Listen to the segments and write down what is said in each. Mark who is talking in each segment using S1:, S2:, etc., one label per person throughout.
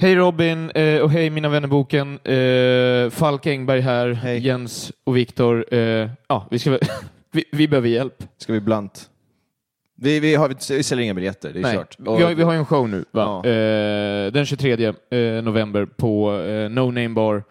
S1: Hej Robin eh, och hej mina vänner boken. Eh, Falk Engberg här,
S2: Hej.
S1: Jens och Viktor. Eh, ja, vi, ska väl- vi, vi behöver hjälp.
S2: Ska vi blunt? Vi, vi, har, vi säljer inga biljetter, det är klart.
S1: Vi, har, vi har ju en show nu, va?
S2: Ja.
S1: Eh, den 23 eh, november på eh, No Name Bar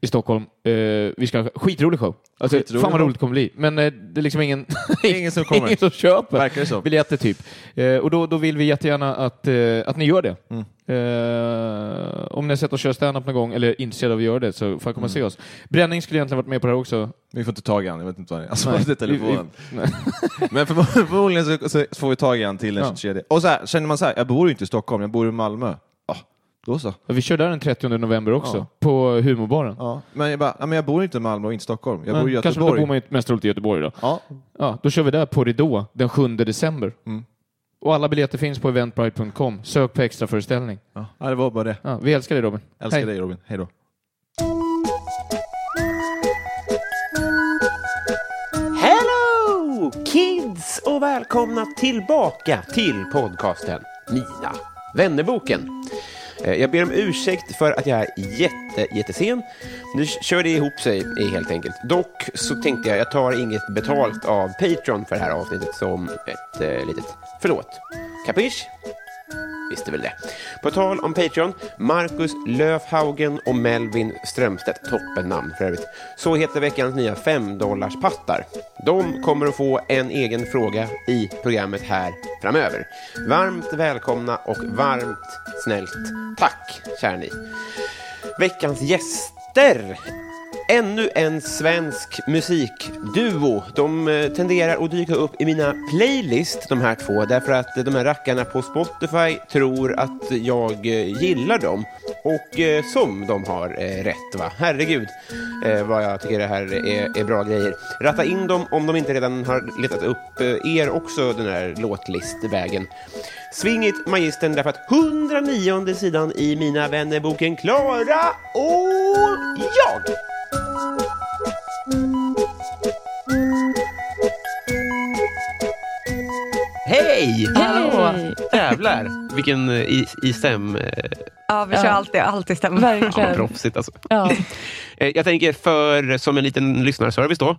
S1: i Stockholm. Eh, vi ska ha skitrolig show. Alltså,
S2: Skitrolig
S1: fan vad
S2: show.
S1: roligt det kommer bli. Men eh, det är liksom ingen,
S2: Ingen som kommer.
S1: ingen som köper
S2: Verkar det så?
S1: biljetter typ. Eh, och då, då vill vi jättegärna att, eh, att ni gör det.
S2: Mm.
S1: Eh, om ni har sett oss köra stand-up någon gång eller är intresserade av att göra det så får komma
S2: Mm.
S1: och se oss. Bränning skulle egentligen varit med på det här också.
S2: Vi får inte tag i han, jag vet inte vad han är. Alltså, det är
S1: vi- vi-
S2: telefonen. Men förmo- förmodligen så, så får vi tag i han till den
S1: Ja.
S2: 23. Och så här, känner man så här, jag bor ju inte i Stockholm, jag bor i Malmö. Ja, då så.
S1: Ja, Vi kör där den 30 november också,
S2: Ja.
S1: på Humorbaren.
S2: Ja. Men jag bara, ja, men jag bor inte i Malmö och inte i Stockholm, jag bor i
S1: Kanske då
S2: Göteborg.
S1: bor man ju mest troligt i Göteborg då.
S2: Ja,
S1: Ja, då kör vi där på Ridå den 7 december.
S2: Mm.
S1: Och alla biljetter finns på eventbrite.com. Sök på extra föreställning.
S2: ja. ja, det var bara det.
S1: Ja, vi älskar dig Robin.
S2: Älskar
S1: Hej.
S2: dig Robin, hej då.
S3: Hello kids och välkomna tillbaka till podcasten Mina vännerboken. Eh, Jag ber om ursäkt för att jag är jätte, jättesen. Nu k- kör det ihop sig eh, helt enkelt. Dock så tänkte jag, jag tar inget betalt av Patreon för det här avsnittet som ett eh, litet förlåt. Kapisch? Visste väl det. På tal om Patreon, Marcus Löfhaugen och Melvin Strömstedt, toppennamn för övrigt, så heter veckans nya 5-dollarspattar. De kommer att få en egen fråga i programmet här framöver. Varmt välkomna och varmt snällt tack, kära ni. Veckans gäster Ännu en svensk musikduo. De eh, tenderar att dyka upp i mina playlist, de här två, därför att eh, de här rackarna på Spotify tror att jag eh, gillar dem. Och eh, som de har eh, rätt, va? Herregud, eh, vad jag tycker det här är, är bra grejer. Ratta in dem om de inte redan har letat upp eh, er också, den här låtlistvägen. Svingit Magistern, därför att 109 sidan i Mina vännerboken Klara och jag. Hej! Hallå! Jävlar, vilken eh, i, i stäm... eh,
S4: Ja, vi kör
S5: Ja.
S4: alltid, alltid stämmer.
S3: Ja, men
S5: Verkligen.
S3: proffsigt alltså.
S5: Ja.
S3: Eh, Jag tänker för, som en liten lyssnarservice då,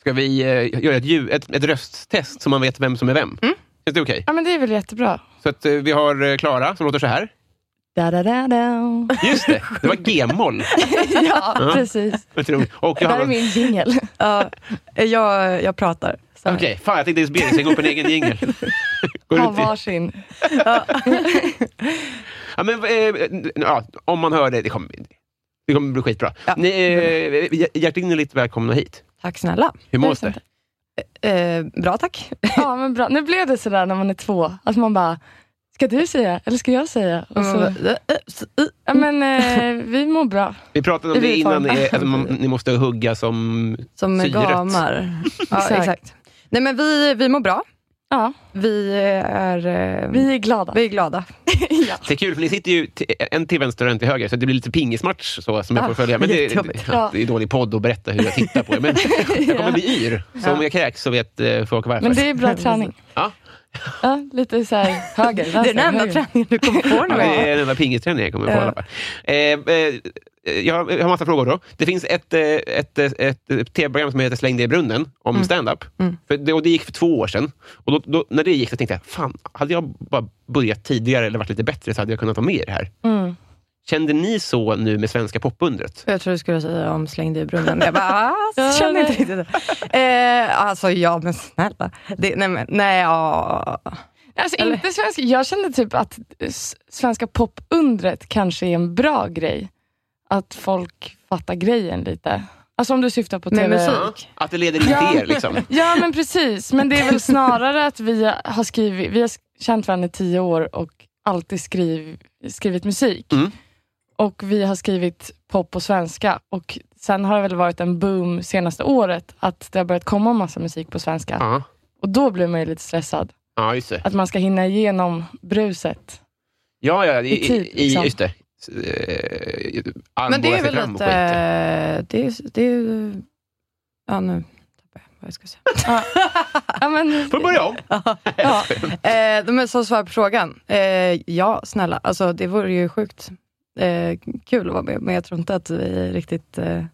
S3: ska vi eh, göra ett, ljud, ett, ett rösttest så man vet vem som är vem.
S5: Mm.
S3: Känns det okej?
S5: ja, men det är väl jättebra.
S3: Så att eh, vi har eh, Klara som låter så här.
S5: Da, da, da, da.
S3: Just det, det var g-moll.
S5: ja, precis.
S3: Vad tror du? Och
S5: Det
S3: jag har
S5: där är
S3: någon-
S5: min jingel.
S4: Ja, Eh, jag, jag pratar. Så här.
S3: Okej, fan jag tänkte inspirera sig gå på en egen jingel. Går
S5: Ha
S3: ut i-
S5: varsin.
S3: Ja, men, eh, ja, om man hör det, det kommer, det kommer bli skitbra.
S4: Ja.
S3: Ni, eh, hjärtinnerligt välkomna hit.
S4: Tack snälla.
S3: Hur
S5: Mm.
S3: mår det?
S4: Eh, bra tack.
S5: Ja, men bra. Nu blev det sådär när man är två, att man bara, ska du säga eller ska jag säga? Och
S4: Mm.
S5: så,
S4: eh,
S5: ja, men eh, vi mår bra.
S3: Vi pratade om
S5: Vi
S3: det
S5: får-
S3: innan, eh, att man, ni måste hugga som...
S4: Som
S3: Syret.
S4: gamar. Ja,
S5: Exakt.
S4: exakt. Nej, men vi, vi mår bra.
S5: Ja,
S4: Vi är, eh,
S5: vi är glada.
S4: vi är glada.
S3: Det är kul, för ni sitter ju t- en till vänster och en till höger, så det blir lite pingismatch så, som jag
S4: Ja,
S3: får följa. Men det,
S4: jättejobbigt.
S3: ja, det är dålig podd att berätta hur jag tittar på er, men jag kommer bli yr. Så om jag kräks så vet eh, folk varför.
S5: Men det är bra träning.
S3: Ja.
S5: Ja, lite såhär höger, vänster,
S4: Det är den enda
S5: höger.
S4: träningen du kommer på
S3: Ja,
S4: nu.
S3: det är den enda pingisträningen jag kommer på i alla fall. Eh, eh, jag har jag har massa frågor då. Det finns ett, eh, ett, eh, ett, eh, tv-program som heter Släng dig i brunnen om stand-up. För det, och det gick för två år sedan. Och då, då, när det gick så tänkte jag, fan, hade jag bara börjat tidigare eller varit lite bättre så hade jag kunnat vara med i det här.
S5: Mm.
S3: Kände ni så nu med svenska popundret?
S4: Jag tror du skulle säga om släng dig i brunnen. Jag bara, ah,
S5: Ja,
S4: känner inte
S5: nej.
S4: riktigt det. Eh, alltså ja, men snälla. Det, nej, men, nej, ja.
S5: Alltså
S4: Eller-
S5: inte svenska. Jag kände typ att s- svenska popundret kanske är en bra grej. Att folk fattar grejen lite. Alltså om du syftar på
S4: Med
S5: TV.
S4: musik.
S3: Att det leder in till er liksom?
S5: Ja men precis, men det är väl snarare att vi har skrivit, vi har känt varandra i tio år och alltid skriv, skrivit musik.
S3: Mm.
S5: Och vi har skrivit pop och svenska och sen har det väl varit en boom senaste året att det har börjat komma massa musik på svenska.
S3: Ja,
S5: Och då blir man ju lite stressad.
S3: ja just det.
S5: Att man ska hinna igenom bruset.
S3: Ja, ja, i,
S5: I tid,
S3: i, i,
S5: liksom.
S3: just det. S- eh,
S4: Men typ, det
S3: armbågar sig
S4: är väl
S3: fram och
S4: lite...
S3: skit.
S4: Det är, det är, ja, nu tappar jag vad jag ska säga.
S5: Ja, men,
S3: Får börja om.
S4: Ja. Eh, men som svar på frågan. Eh, ja, snälla. Alltså, det vore ju sjukt eh, kul att vara med, men jag tror inte att vi riktigt... Eh,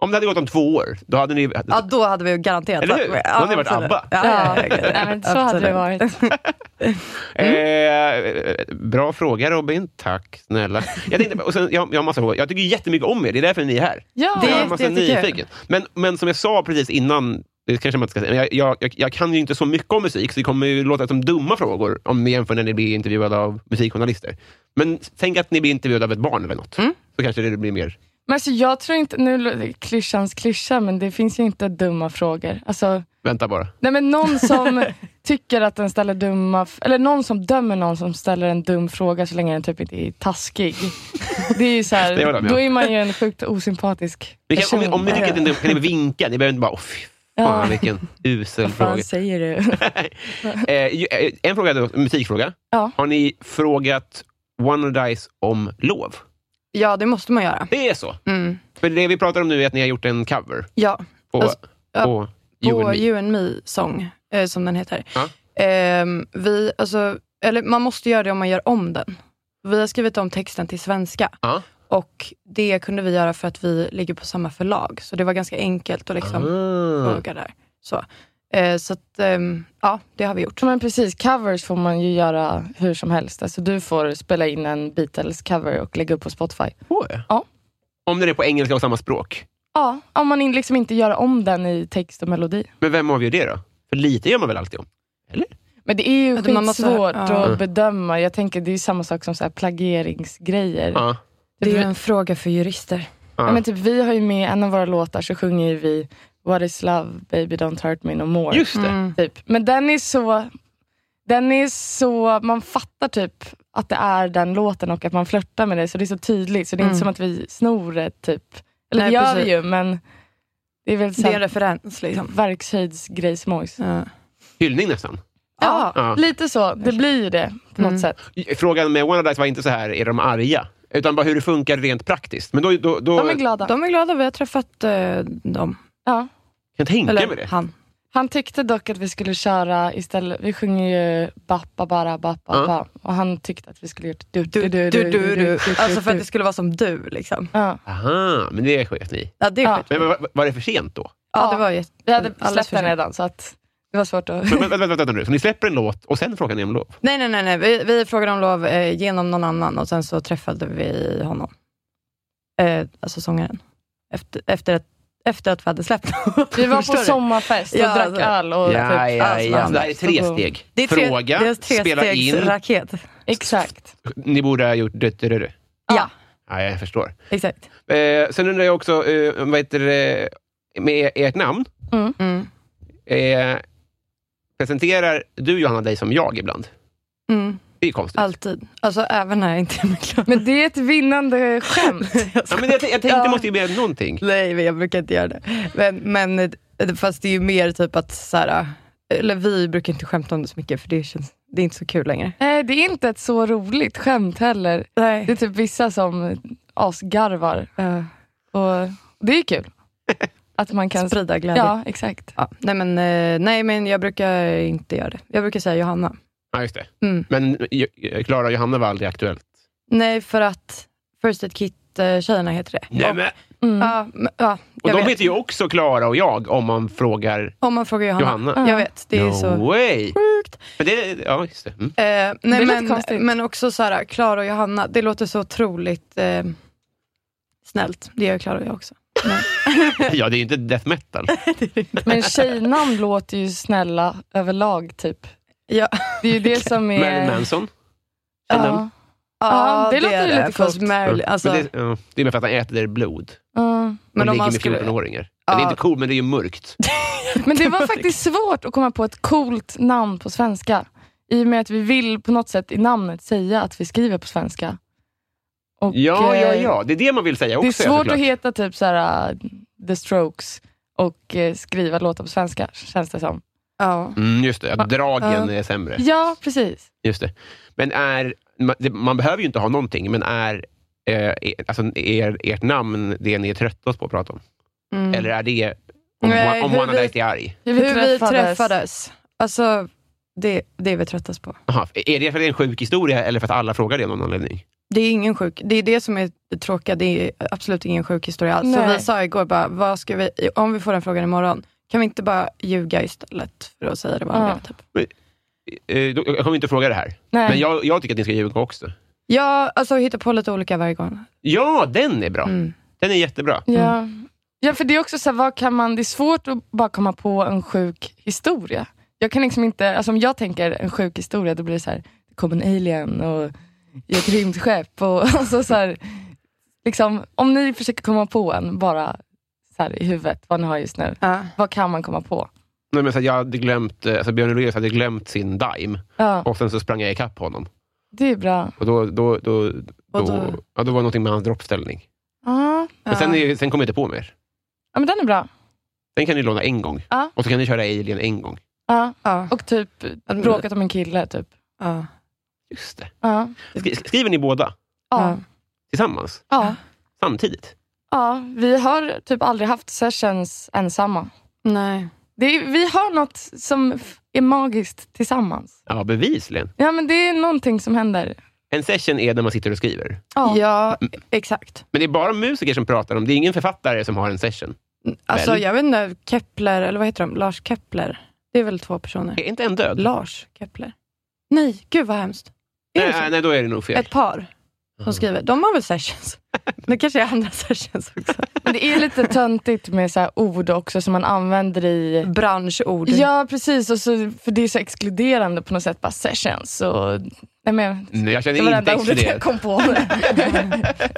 S3: Om det hade gått om två år, då hade ni...
S4: ja, då hade vi ju garanterat
S3: Eller hur?
S4: med.
S3: Då hade ni varit
S4: absolut.
S3: ABBA.
S4: Ja,
S5: ja,
S4: ja, ja,
S5: nej, men så hade
S4: absolut.
S5: det varit.
S4: mm.
S3: Eh, bra fråga Robin. Tack snälla. Jag, tänkte, och sen, jag, jag har massa frågor. Jag tycker jättemycket om er. Det är därför ni är här.
S5: Ja,
S4: Det
S3: jag
S4: är
S3: har massa
S4: jätte- jättekul.
S3: nyfiken. Men, men som jag sa precis innan, det kanske man inte ska säga, men jag, jag, jag, jag kan ju inte så mycket om musik, så det kommer ju låta som dumma frågor om ni jämför när ni blir intervjuade av musikjournalister. Men tänk att ni blir intervjuade av ett barn eller något. Så kanske det blir mer...
S5: Men alltså, jag tror inte, nu lå- det är klyschans klyscha, men det finns ju inte dumma frågor. Alltså,
S3: Vänta bara.
S5: Nej, men någon som tycker att den ställer dumma, f- eller någon som dömer någon som ställer en dum fråga så länge den typ inte är taskig. Det är ju så
S3: Det håller jag
S5: här,
S3: med
S5: då
S3: om.
S5: är man ju en sjukt osympatisk
S3: Ni kan, om, ni-
S5: person.
S3: om ni tycker att det är dumt kan ni vinka. Ni behöver inte bara, åh fy fan
S5: Ja.
S3: vilken usel
S5: Vad fan
S3: fråga.
S5: säger du?
S3: Eh, ju- eh, en fråga, då, en musikfråga.
S5: Ja.
S3: Har ni frågat One of Dice om lov?
S4: Ja, det måste man göra.
S3: Det är så.
S4: Mm.
S3: För det vi pratar om nu är att ni har gjort en cover
S4: Ja,
S3: på,
S4: Alltså, ja,
S3: på You
S4: på
S3: and Me.
S4: You and Me Song, eh, som den heter.
S3: Ja.
S4: Ehm, vi, alltså, eller man måste göra det om man gör om den. Vi har skrivit om texten till svenska.
S3: Ja.
S4: Och det kunde vi göra för att vi ligger på samma förlag. Så det var ganska enkelt att liksom
S3: Ah.
S4: fråga där. Så, eh, så att, ehm, ja, det har vi gjort.
S5: Ja, men precis, covers får man ju göra hur som helst. Alltså, du får spela in en Beatles-cover och lägga upp på Spotify.
S3: Får jag?
S5: Ja.
S3: Om det är på engelska och samma språk.
S5: Ja, om man in- liksom inte gör om den i text och melodi.
S3: Men vem avgör det då? För lite gör man väl alltid om?
S5: Men det är ju
S4: Att man
S5: skitsvårt
S4: måste- ja.
S5: att bedöma. Jag tänker det är ju samma sak som så här plagieringsgrejer.
S3: Ja.
S4: Det är en fråga för jurister.
S3: Ja.
S5: Ja, men typ, vi har ju med en av våra låtar så sjunger ju vi What is love, baby don't hurt me no more.
S3: Just det.
S4: Mm.
S5: Typ. Men den är så... Den är så, man fattar typ att det är den låten och att man flörtar med det. Så det är så tydligt. Så det är inte som att vi snor det. Typ. Eller
S4: Mm. Nej,
S5: det gör
S4: precis.
S5: vi ju, men det är väl så
S4: Det är en
S5: här,
S4: referens liksom.
S5: verkshöjdsgrejsmojs.
S4: Ja.
S3: Hyllning nästan.
S5: Ja,
S3: Ja.
S5: lite så. Det blir ju det på
S4: Mm.
S5: något sätt.
S3: Frågan med One of Dice var inte så här, är de arga? Utan bara hur det funkar rent praktiskt. Men då, då, då
S5: De är glada.
S4: De är glada, vi har träffat eh, dem.
S5: ja.
S3: kan jag tänka mig
S4: Eller
S3: det.
S4: han.
S5: Han tyckte dock att vi skulle köra istället, vi sjunger ju bappa bara bappa
S3: Ja.
S5: ba. och han tyckte att vi skulle gjort du
S4: Du, du, du, du, du. Alltså för att
S5: du.
S4: det skulle vara som du. Liksom.
S5: Ja.
S3: Aha, men det sket ni i.
S4: Ja, det är
S5: Ja.
S4: skit.
S3: Men var, var det för sent då?
S4: Ja, det var jätte...
S5: Vi hade
S4: Alldeles
S5: släppt
S4: för
S5: den
S4: sent.
S5: redan så att det var svårt att...
S3: Men, vänta, vänta, vänta nu. Så ni släpper en låt och sen frågar ni om lov?
S4: Nej, nej, nej. nej. Vi, vi frågade om lov eh, genom någon annan och sen så träffade vi honom. Eh, alltså sångaren. Efter, efter, att, efter att vi hade släppt
S5: Vi var på
S4: Förstår du?
S5: sommarfest och
S4: Ja,
S5: drack
S4: alltså.
S5: öl och typ allt
S3: Så
S5: möjligt.
S3: det här är tre
S5: Så-
S3: steg.
S4: Det är tre,
S3: Fråga,
S4: det är tre
S3: spela
S4: stegs
S3: in.
S4: raket.
S5: Exakt.
S3: Ni borde ha gjort det. det, det, det.
S4: ja,
S3: Ja, jag förstår.
S4: exakt.
S3: Eh, sen undrar jag också, eh, vad heter det, med e-, ert namn.
S4: Mm.
S3: Eh, presenterar du Johanna dig som jag ibland?
S4: Mm,
S3: Det är ju konstigt.
S4: alltid. Alltså även när jag inte är med klubben.
S5: Men det är ett vinnande skämt.
S3: Ja, men jag, t- jag tänkte, det
S4: Ja.
S3: måste ju bli någonting.
S4: Nej, men jag brukar inte göra det. Men, men eh, fast det är ju mer typ att så här, eller vi brukar inte skämta om det så mycket för det känns, det är inte så kul längre.
S5: Nej, Eh, det är inte ett så roligt skämt heller. Det är
S4: Nej. Eh.
S5: typ vissa som asgarvar. Och det är ju kul. Att man kan...
S4: Sprida glädje. Ja.
S5: Ja, exakt.
S4: nej, men, eh, nej, men jag brukar inte göra det. Jag brukar säga Johanna.
S3: Ja, just det.
S4: Mm.
S3: Men eh, Klara och Johanna var aldrig aktuellt.
S4: Nej, för att First Aid Kit Konsttjejerna heter det.
S3: Nej, men,
S5: Mm.
S4: Ja, men, ja,
S3: och
S4: jag
S3: de
S4: vet.
S3: heter ju också Klara och jag om man frågar
S4: Om man frågar Johanna.
S3: Johanna.
S4: Jag vet, det är
S3: no
S4: ju så
S3: way!
S4: sjukt.
S3: Men det, ja, just det. Mm.
S4: Eh,
S5: är
S4: nej,
S5: lite
S4: men,
S5: konstigt.
S4: men också så här, Klara och Johanna, det låter så otroligt eh, snällt. Det gör Klara och jag också.
S3: Ja, det är ju inte death metal.
S5: Men tjejnamn låter ju snälla överlag typ.
S4: Ja.
S5: Det är ju det som är...
S3: Marilyn Manson.
S5: ja. Ja, det låter ju lite
S4: Fast
S5: coolt.
S4: Marilyn, alltså,
S3: men det, ja, det är bara för att han äter blod.
S5: Ja.
S3: Men
S4: Men
S3: ligger
S4: om man
S3: med
S4: skulle-
S3: 14-åringar.
S4: Ja.
S3: Det är inte coolt, men det är ju mörkt.
S5: Men det var faktiskt svårt att komma på ett coolt namn på svenska. I och med att vi vill på något sätt i namnet säga att vi skriver på svenska. Och,
S3: Ja, ja,
S5: eh,
S3: ja. Det är det man vill säga också.
S5: Det är svårt
S3: såklart.
S5: att heta typ så här, uh, The Strokes och eh, skriva låtar på svenska, känns det som.
S4: ja.
S3: Mm, just det, att dragen
S5: Ja.
S3: är sämre.
S5: Ja, precis.
S3: Just det. Men är, man, det, man behöver ju inte ha någonting, men är eh, er, alltså er, ert namn det ni är tröttast på att prata om?
S4: Mm.
S3: Eller är det om,
S4: Nej,
S3: om
S4: hur
S3: One
S4: vi-
S3: Night är arg?
S5: Hur
S4: Hur vi träffades. Alltså, det, det är vi tröttast på.
S3: Aha, är det för att det är en sjuk historia eller för att alla frågar det av någon anledning?
S4: Det är ingen sjuk, det är det som är det tråkiga, det är absolut ingen sjuk historia alls. Så
S5: Nej.
S4: vi sa igår, bara, vad ska vi, om vi får den frågan imorgon, kan vi inte bara ljuga istället för att säga det vanliga?
S5: Ja.
S4: Typ.
S3: Eh, då- Jag kommer inte fråga det här,
S5: Nej.
S3: men jag, jag tycker att ni ska ljuga också.
S4: Ja, alltså hitta på lite olika varje gång.
S3: Ja, den är bra.
S4: Mm.
S3: Den är jättebra.
S5: Ja. ja, för det är också så här, vad kan man, det är svårt att bara komma på en sjuk historia. Jag kan liksom inte, alltså om jag tänker en sjuk historia, då blir det så här, det kom en alien och i ett rymdskepp. Och, alltså så här, liksom, om ni försöker komma på en, bara så här, i huvudet, vad ni har just nu.
S4: Ja.
S5: Vad kan man komma på?
S3: Nej, men så att jag hade glömt, eh, alltså Björn Ulvaeus hade glömt sin dime
S5: Ja,
S3: och sen så sprang jag ikapp honom.
S5: det är bra.
S3: Och då, då, då, då,
S4: Och då-
S3: ja, då var det någonting med hans droppställning.
S5: Ja,
S3: Men sen,
S4: Ja.
S3: är- sen kommer jag inte på mer.
S5: ja men den är bra.
S3: Den kan ni låna en gång.
S5: Ja.
S3: Och så kan ni köra Alien en gång.
S5: Ja.
S4: Ja.
S5: Och typ bråkat om en kille, typ.
S4: Ja.
S3: Just det.
S5: Ja.
S3: Sk- skriver ni båda
S5: Ja.
S3: tillsammans?
S5: Ja.
S3: Samtidigt?
S5: ja, vi har typ aldrig haft sessions ensamma.
S4: Nej.
S5: Det är, vi har något som f- är magiskt tillsammans.
S3: Ja, bevisligen.
S5: Ja, men det är någonting som händer.
S3: En session är när man sitter och skriver.
S5: Ja.
S4: Ja, exakt.
S3: Men det är bara musiker som pratar om det. är ingen författare som har en session.
S4: Alltså
S3: Väl?
S4: jag vet inte, Kepler, eller vad heter de? Lars Kepler. Det är väl två personer?
S3: Är inte en död?
S4: Lars Kepler. Nej, gud vad hemskt. Är det så?
S3: nej, nej, då är det nog fel.
S4: Ett par som skriver. De har väl sessions? Det kanske är andra sessions också.
S5: Men det är lite töntigt med så här ord också som man använder i...
S4: Branschord.
S5: Ja, precis. Och så, för det är så exkluderande på något sätt. Bara sessions och... Nej, men,
S3: Nej, jag
S5: det var
S3: känner inte
S5: det enda ordet jag
S3: exkluderat.
S5: kom på.
S4: Det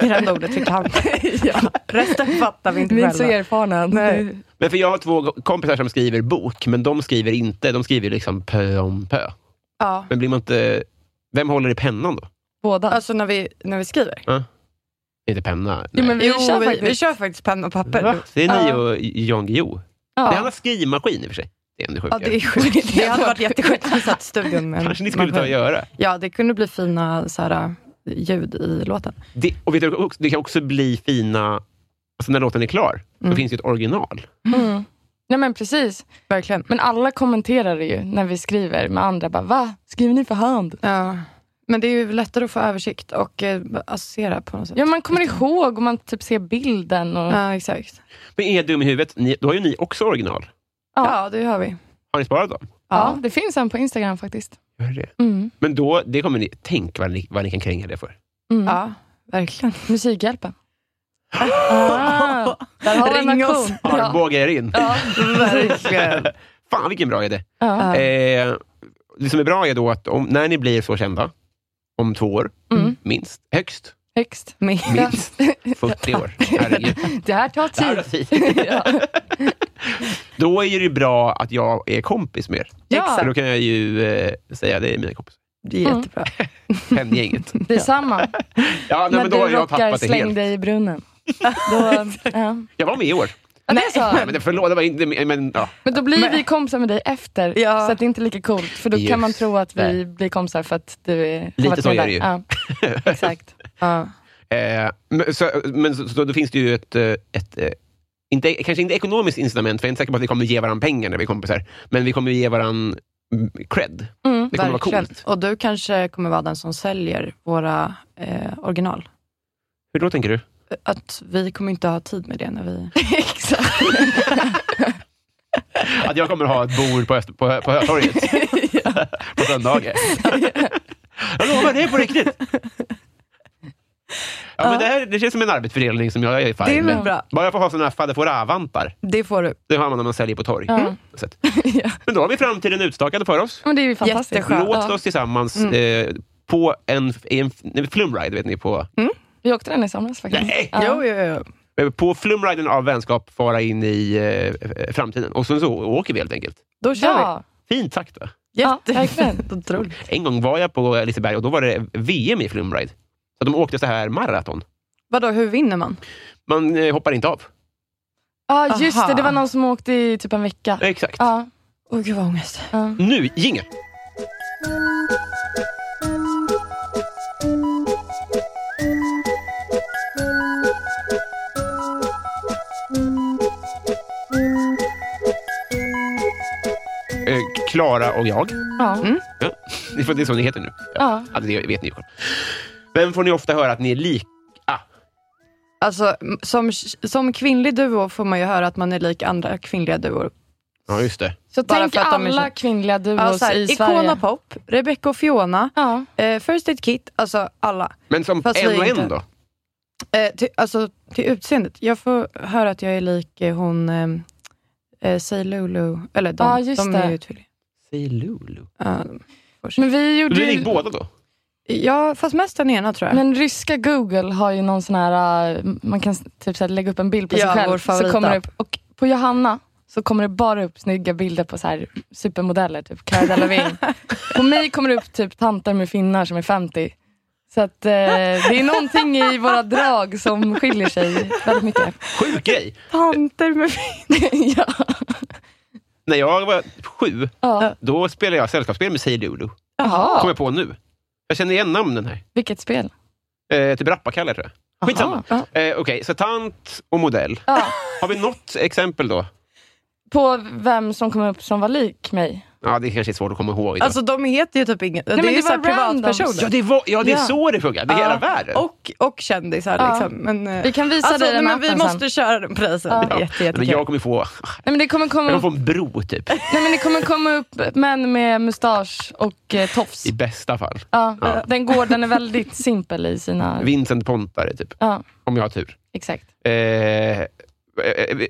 S4: är det enda ordet vi kan.
S5: ja.
S4: Resten fattar vi inte
S5: Vi är
S4: själva.
S5: inte så erfarna.
S4: Nej.
S3: Men för jag har två kompisar som skriver bok, men de skriver inte. De skriver liksom pö om pö.
S4: Ja.
S3: Men blir man inte... Vem håller i pennan då?
S5: Båda.
S4: Alltså när vi, när vi skriver.
S3: Inte penna?
S5: Jo,
S3: Nej.
S5: men vi
S4: jo,
S5: kör
S4: vi,
S5: faktiskt.
S4: vi kör faktiskt penna och papper.
S3: Va? Det är ni
S5: Ja.
S3: och Jan Guillou. Det är
S5: ja.
S3: hans skrivmaskin i och för sig. Det är ändå
S4: Ja,
S3: sjukare.
S4: det är sjukt. Det hade varit jätteskönt om vi satt i studion med en
S3: Kanske ni skulle ta och
S4: maskin.
S3: göra.
S4: Ja, det kunde bli fina så här, ljud i låten.
S3: Det, och vet du, det kan också bli fina... Alltså när låten är klar, då
S4: Mm.
S3: finns det ett original.
S5: Mm. Nej, men precis.
S4: Verkligen.
S5: Men alla kommenterar det ju när vi skriver med andra. Bara, Va? Skriver ni för hand?
S4: Ja. Men det är ju lättare att få översikt och eh, associera på något sätt.
S5: Ja, man kommer ihåg och man typ ser bilden. Och...
S4: Ja, exakt.
S3: Men är jag dum i huvudet, ni, då har ju ni också original.
S4: Ja, det har vi.
S3: Har ni sparat dem?
S5: Ja, det finns en på Instagram faktiskt.
S3: Gör det.
S5: Mm.
S3: Men då, det kommer ni... Tänk vad ni, vad ni kan kränga det för.
S5: Mm.
S4: Ja, verkligen.
S5: Musikhjälpen. Ah, där har vi en
S4: Ring oss.
S5: auktion. Ja.
S3: Armbågar er in.
S5: Ja.
S4: verkligen.
S3: Fan vilken bra idé.
S5: Ja.
S3: Eh, det som är bra är då att om, när ni blir så kända, om två år,
S5: Mm.
S3: minst, högst
S5: Högst.
S3: Minst. 40 år, herregud.
S5: Det här tar
S3: Det här
S5: tid.
S3: är fint.
S5: Ja.
S3: Då är det bra att jag är kompis med er.
S5: Ja.
S3: För då kan jag ju eh, säga det är mina kompisar.
S4: Det är jättebra.
S3: Penngänget.
S5: Detsamma.
S3: Ja, nej,
S5: När
S3: men då har
S5: du
S3: jag
S5: rockar
S3: tappat det
S5: släng
S3: helt.
S5: dig i brunnen. Då, ja.
S3: Jag var med i år.
S5: Ja, det är
S3: Nej,
S5: så.
S3: men det- förlåt, det var inte... Men, ja.
S5: Men då blir vi kompisar med dig efter,
S4: Ja.
S5: så att det är inte lika coolt. För då
S3: Just
S5: kan man tro att vi
S3: det.
S5: blir kompisar för att du är, har
S3: Lite
S5: varit
S3: så
S5: med
S3: är
S5: där.
S3: det ju.
S5: Ja. Exakt.
S4: Ja.
S3: Eh, men så, men så, så, då finns det ju ett... eh, ett eh, inte, kanske inte ekonomiskt incitament, för jag är inte säker på att vi kommer ge varandra pengar när vi är kompisar. Men vi kommer ju ge varandra mm, cred.
S5: Mm.
S3: Det kommer vara
S4: verkligen.
S3: coolt.
S4: Och du kanske kommer vara den som säljer våra eh, original.
S3: Hur då tänker du?
S4: att vi kommer inte ha tid med det när vi...
S5: Exakt.
S3: Att jag kommer ha ett bord på, Öster, på, på Hötorget på söndagar. jag lovar, det är på riktigt. Ja, men det, här, det känns som en arbetsfördelning som jag är
S4: Det är
S3: fine
S4: väl
S3: med.
S4: bra.
S3: Bara jag får ha såna här fadderfåra-vantar.
S4: Det får du.
S3: Det har man när man säljer på torg. Mm,
S5: Ja.
S3: Så att-
S5: ja.
S3: Men då har vi framtiden utstakad för oss.
S5: Men det är ju fantastiskt.
S4: Jätteskönt.
S3: Låt
S5: Ja. Mm.
S3: oss tillsammans eh, på en, i en nej, flumride, vet ni, på,
S5: Vi åkte den i somras faktiskt.
S3: Nej!
S5: Mm. Ja.
S4: Jo, jo, jo.
S3: eh, på flumriden av vänskap fara in i eh, framtiden. Och sen så åker vi helt enkelt.
S4: Då kör
S5: Ja.
S3: Fint sagt va?
S4: vi.
S5: Ja, verkligen.
S4: Jättefint. Otroligt.
S3: En gång var jag på Liseberg och då var det VM i flumride. Så de åkte så här maraton.
S4: Vadå, hur vinner man?
S3: Man eh, hoppar inte av.
S5: Ja, just
S4: Aha.
S5: det. Det var någon som åkte i typ en vecka.
S3: Exakt.
S5: Ja.
S4: Åh gud vad ångest.
S5: ja.
S3: Nu, jingel! Eh, Klara och jag.
S5: Ja.
S3: Det är det är så ni heter nu.
S5: Ja.
S3: Ja, det vet ni ju själv. Vem får ni ofta höra att ni är lika?
S4: Alltså, m- som, som kvinnlig duo får man ju höra att man är lik andra kvinnliga duor.
S3: Ja, just det.
S5: Så
S4: Bara
S5: tänk
S4: för att de är
S5: alla
S4: så-
S5: kvinnliga duos
S4: Ja, så här,
S5: i
S4: Icona
S5: Sverige.
S4: Pop, Rebecca och Fiona,
S5: Ja.
S4: eh, First Aid Kit, alltså alla.
S3: Men som
S4: Fast vi
S3: en och
S4: inte.
S3: en då?
S4: Eh, till, alltså till utseendet. Jag får höra att jag är lik eh, hon, eh, eh, Say Lulu, eller de,
S5: Ja, just
S4: de
S5: det.
S4: är ju tvillingar.
S3: Säg Lulu.
S4: Ja,
S5: Men vi gjorde
S3: Du är lik
S5: ju...
S3: båda då?
S4: ja, fast mest den ena tror jag.
S5: Men ryska Google har ju någon sån här, äh, man kan s- typ så här lägga upp en bild på
S4: Ja,
S5: sig
S4: vår
S5: själv. Så
S4: favoritapp.
S5: kommer det upp, och på Johanna så kommer det bara upp snygga bilder på så här supermodeller, typ Cara Delevingne. på mig kommer det upp typ tanter med finnar som är 50. Så att, eh, det är någonting i våra drag som skiljer sig väldigt mycket.
S3: Sjuk grej!
S4: Tanter med
S5: ja.
S3: När jag var sju,
S5: Ja.
S3: då spelade jag sällskapsspel med Say Lulu. Kom
S5: Jaha,
S3: jag på nu. Jag känner igen namnen här.
S5: vilket spel.
S3: Eh, typ Rappakalle tror jag. Skitsamma. Eh,
S5: Aha. Ja.
S3: Okej, så tant och modell.
S5: Ja.
S3: Har vi något exempel då?
S5: På vem som kom upp som var lik mig.
S3: Ja, det kanske är svårt att komma ihåg. Idag.
S4: Alltså de heter ju typ inget.
S5: men
S4: det är ju
S5: det
S4: såhär
S5: var randoms.
S4: privatpersoner.
S3: ja, det var, ja, det är
S4: Ja.
S3: så det funkar. Det är
S4: Ja.
S3: hela världen.
S4: Och, och kändisar
S5: Ja.
S4: liksom. Men, eh,
S5: Vi kan visa
S4: alltså,
S5: dig
S4: nej,
S5: den
S4: men vi
S5: appen sen.
S4: måste köra den på dig sen.
S5: Ja.
S4: Det är jätte,
S3: Men
S4: jättekul.
S3: jag kommer få,
S5: Nej, men det kommer
S3: jag
S5: komma
S3: kommer få en bro typ.
S5: Nej men det kommer komma upp män med mustasch och eh, tofs.
S3: I bästa fall.
S5: Ja,
S3: Ja.
S5: Den gården är väldigt simpel i sina...
S3: Vincent Pontare typ.
S5: Ja,
S3: Om jag har tur.
S5: exakt.
S3: Eh, eh,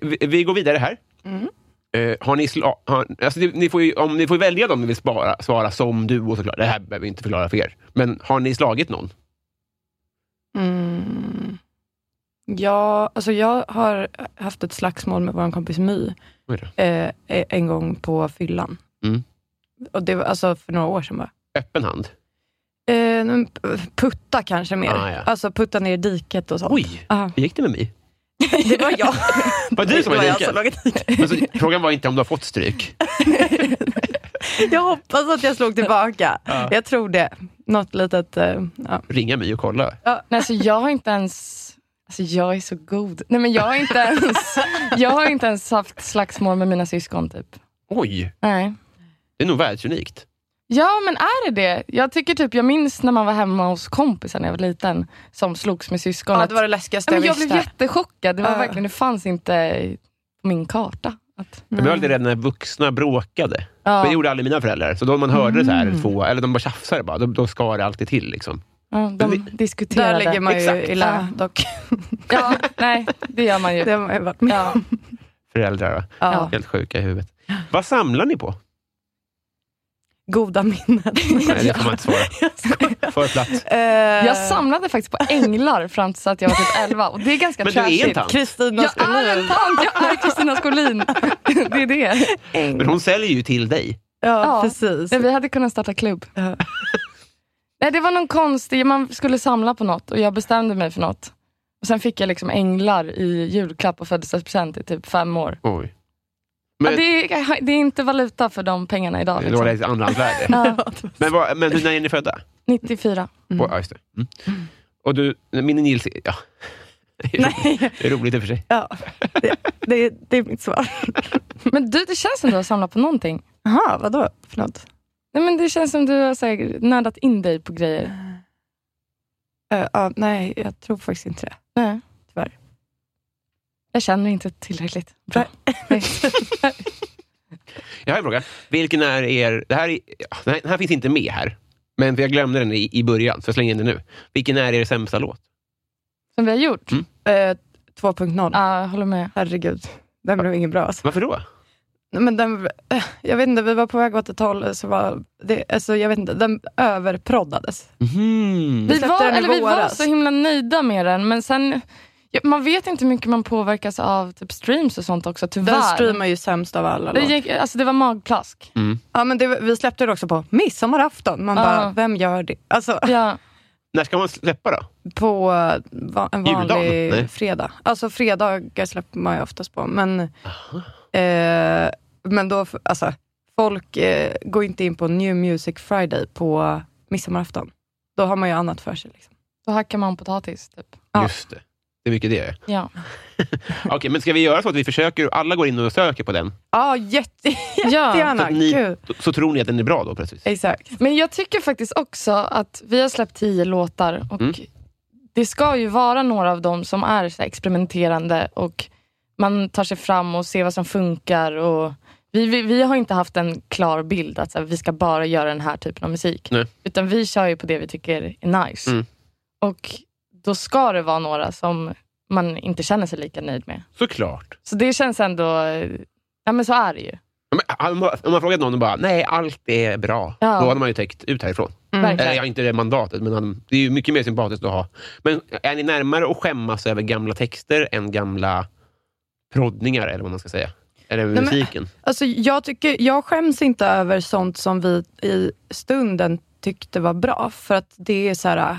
S3: vi, vi går vidare här.
S4: Mm.
S3: Eh, har ni, sla, har, alltså, ni, ni får ju, om ni får välja dem ni vill spara, svara som du och såklart. Det här behöver vi inte förklara för er. Men har ni slagit någon?
S4: Mm. Ja, alltså jag har haft ett slagsmål med vår kompis My
S3: Oj då.
S4: eh, en gång på fyllan.
S3: Mm.
S4: Och det var alltså för några år sedan bara.
S3: Öppen hand?
S4: Eh, men p- putta kanske mer.
S3: Ah, ja.
S4: Alltså putta ner i diket och sånt.
S3: Oj,
S4: Ja.
S3: hur gick det med mig?
S4: Det var jag.
S3: Var det du som var
S4: var jag
S3: diket?
S4: som låg i diket.
S3: Alltså, frågan var inte om du har fått stryk.
S4: Jag hoppas att jag slog tillbaka. Jag tror det. Något litet... Eh, ja.
S3: Ringa mig och kolla.
S5: Nej, alltså, jag har inte ens... Alltså jag är så god. Nej men jag har inte ens, jag har inte ens haft slagsmål med mina syskon typ.
S3: Oj,
S5: Nej.
S3: det är nog världsunikt.
S5: Ja men är det det? Jag tycker typ, jag minns när man var hemma hos kompisar när jag var liten som slogs med syskon.
S4: ja,
S5: att-
S4: det var det läskigaste
S5: Nej, men
S4: jag
S5: jag
S4: visste.
S5: blev jättechockad. Det var
S4: Ja.
S5: verkligen, det fanns inte på min karta. Att,
S3: Jag
S4: Mm.
S3: blev alltid rädd när vuxna bråkade. Men det gjorde aldrig mina föräldrar. Så då man hörde så
S4: Mm.
S3: här, två, eller de bara tjafsade, bara, då, då skar det alltid till. Liksom.
S5: ja, de diskuterade.
S4: Där ligger man ju
S3: Exakt.
S4: illa dock.
S5: Ja, nej, det gör man ju.
S4: Det har man ju varit med
S5: Ja.
S4: om.
S3: Föräldrar, va?
S4: Ja.
S3: helt sjuka i huvudet. Vad samlar ni på?
S4: Goda minnen.
S3: Nej, det får man inte svara. För platt.
S4: Eh,
S5: Jag samlade faktiskt på änglar fram tills att jag var typ 11 och det är ganska
S3: Men du är en
S5: trashigt.
S3: tant.
S4: Kristina
S5: Jag är en
S4: Skolin.
S5: tant, jag är Kristina Skolin. Det är det.
S3: Men hon säljer ju till dig.
S4: Ja,
S5: Ja.
S4: precis.
S5: Nej, vi hade kunnat starta klubb.
S4: Ja.
S5: Nej, det var någon konstig, man skulle samla på något och jag bestämde mig för något. Och Sen fick jag liksom änglar i julklapp och födelsedagspresent i typ fem år.
S3: Oj.
S5: Ja,
S3: Men,
S5: det, är, det är inte valuta för de pengarna idag.
S3: det var
S5: Liksom.
S3: ett andrahandsvärde.
S5: Ja,
S3: Men, vad, men när är ni födda?
S5: 94.
S3: På, ja, just det. Mm. Och du, min Nils... Ja.
S4: Nej,
S3: Det är roligt i och för sig.
S4: ja. Det, det, det är mitt svar.
S5: Men du, det känns som du har samlat på någonting.
S4: Jaha, vadå för något?
S5: Nej, men det känns som du har så här, nördat in dig på grejer.
S4: Eh, ja, nej, jag tror faktiskt inte det.
S5: Nej. Jag känner inte tillräckligt bra.
S3: Jag har en fråga. Vilken är er... Det här, är, den här, den här finns inte med här, men jag glömde den i, i början, så jag slänger in den nu. Vilken är er sämsta låt?
S5: Som vi har gjort.
S4: Eh, 2.0.
S5: Ja, jag håller med.
S4: Herregud, den blev ingen bra. Alltså.
S3: Varför då?
S4: Nej, Men den, eh, jag vet inte, vi var på väg åt ett håll, så var det, alltså, jag vet inte, den överproddades.
S5: Vi
S4: släppte
S5: var,
S4: den i
S5: eller vi var
S4: våras.
S5: så himla nöjda med den, men sen... Ja, man vet inte hur mycket man påverkas av typ streams och sånt också, tyvärr.
S4: Den streamar ju sämst av alla.
S5: det,
S4: låtar.
S5: gick, alltså, det var magplask.
S3: Mm.
S4: Ja, men det, vi släppte det också på midsommarafton. Man
S5: Ja.
S4: bara, vem gör det? Alltså,
S5: Ja.
S3: När ska man släppa då?
S4: på eh, va- en vanlig
S3: Juldagen? Nej.
S4: fredag. Alltså fredagar släpper man ju oftast på. Men, eh, men då, f- alltså, folk eh, går inte in på New Music Friday på midsommarafton. Då har man ju annat för sig. Liksom.
S5: Då hackar man potatis, typ.
S4: Ja.
S3: Just det. Det är mycket det.
S5: Ja.
S3: Okej, men ska vi göra så att vi försöker, alla går in och söker på den?
S4: Ja, jätte,
S5: Ja.
S3: Så,
S4: jättegärna.
S3: att ni,
S4: Gud.
S3: så tror ni att den är bra då plötsligt?
S4: Exakt.
S5: Men jag tycker faktiskt också att vi har släppt tio låtar och
S3: Mm.
S5: det ska ju vara några av dem som är så här experimenterande och man tar sig fram och ser vad som funkar. Och vi, vi, vi har inte haft en klar bild att så här, vi ska bara göra den här typen av musik.
S3: Nej.
S5: Utan vi kör ju på det vi tycker är nice.
S3: Mm.
S5: Och då ska det vara några som man inte känner sig lika nöjd med.
S3: Såklart.
S5: Så det känns ändå... Ja men så är det ju.
S3: Ja, Men, om, man, om man frågat någon och bara, nej, allt är bra.
S5: Ja.
S3: Då hade man ju täckt ut härifrån. Eller
S5: Verkligen.
S3: jag har inte det mandatet, men han, det är ju mycket mer sympatiskt att ha. Men är ni närmare att skämmas över gamla texter än gamla proddningar, eller vad man ska säga? Eller över
S4: Nej, men-
S3: musiken?
S4: Alltså, jag, tycker, jag skäms inte över sånt som vi i stunden tyckte var bra. För att det är, så här,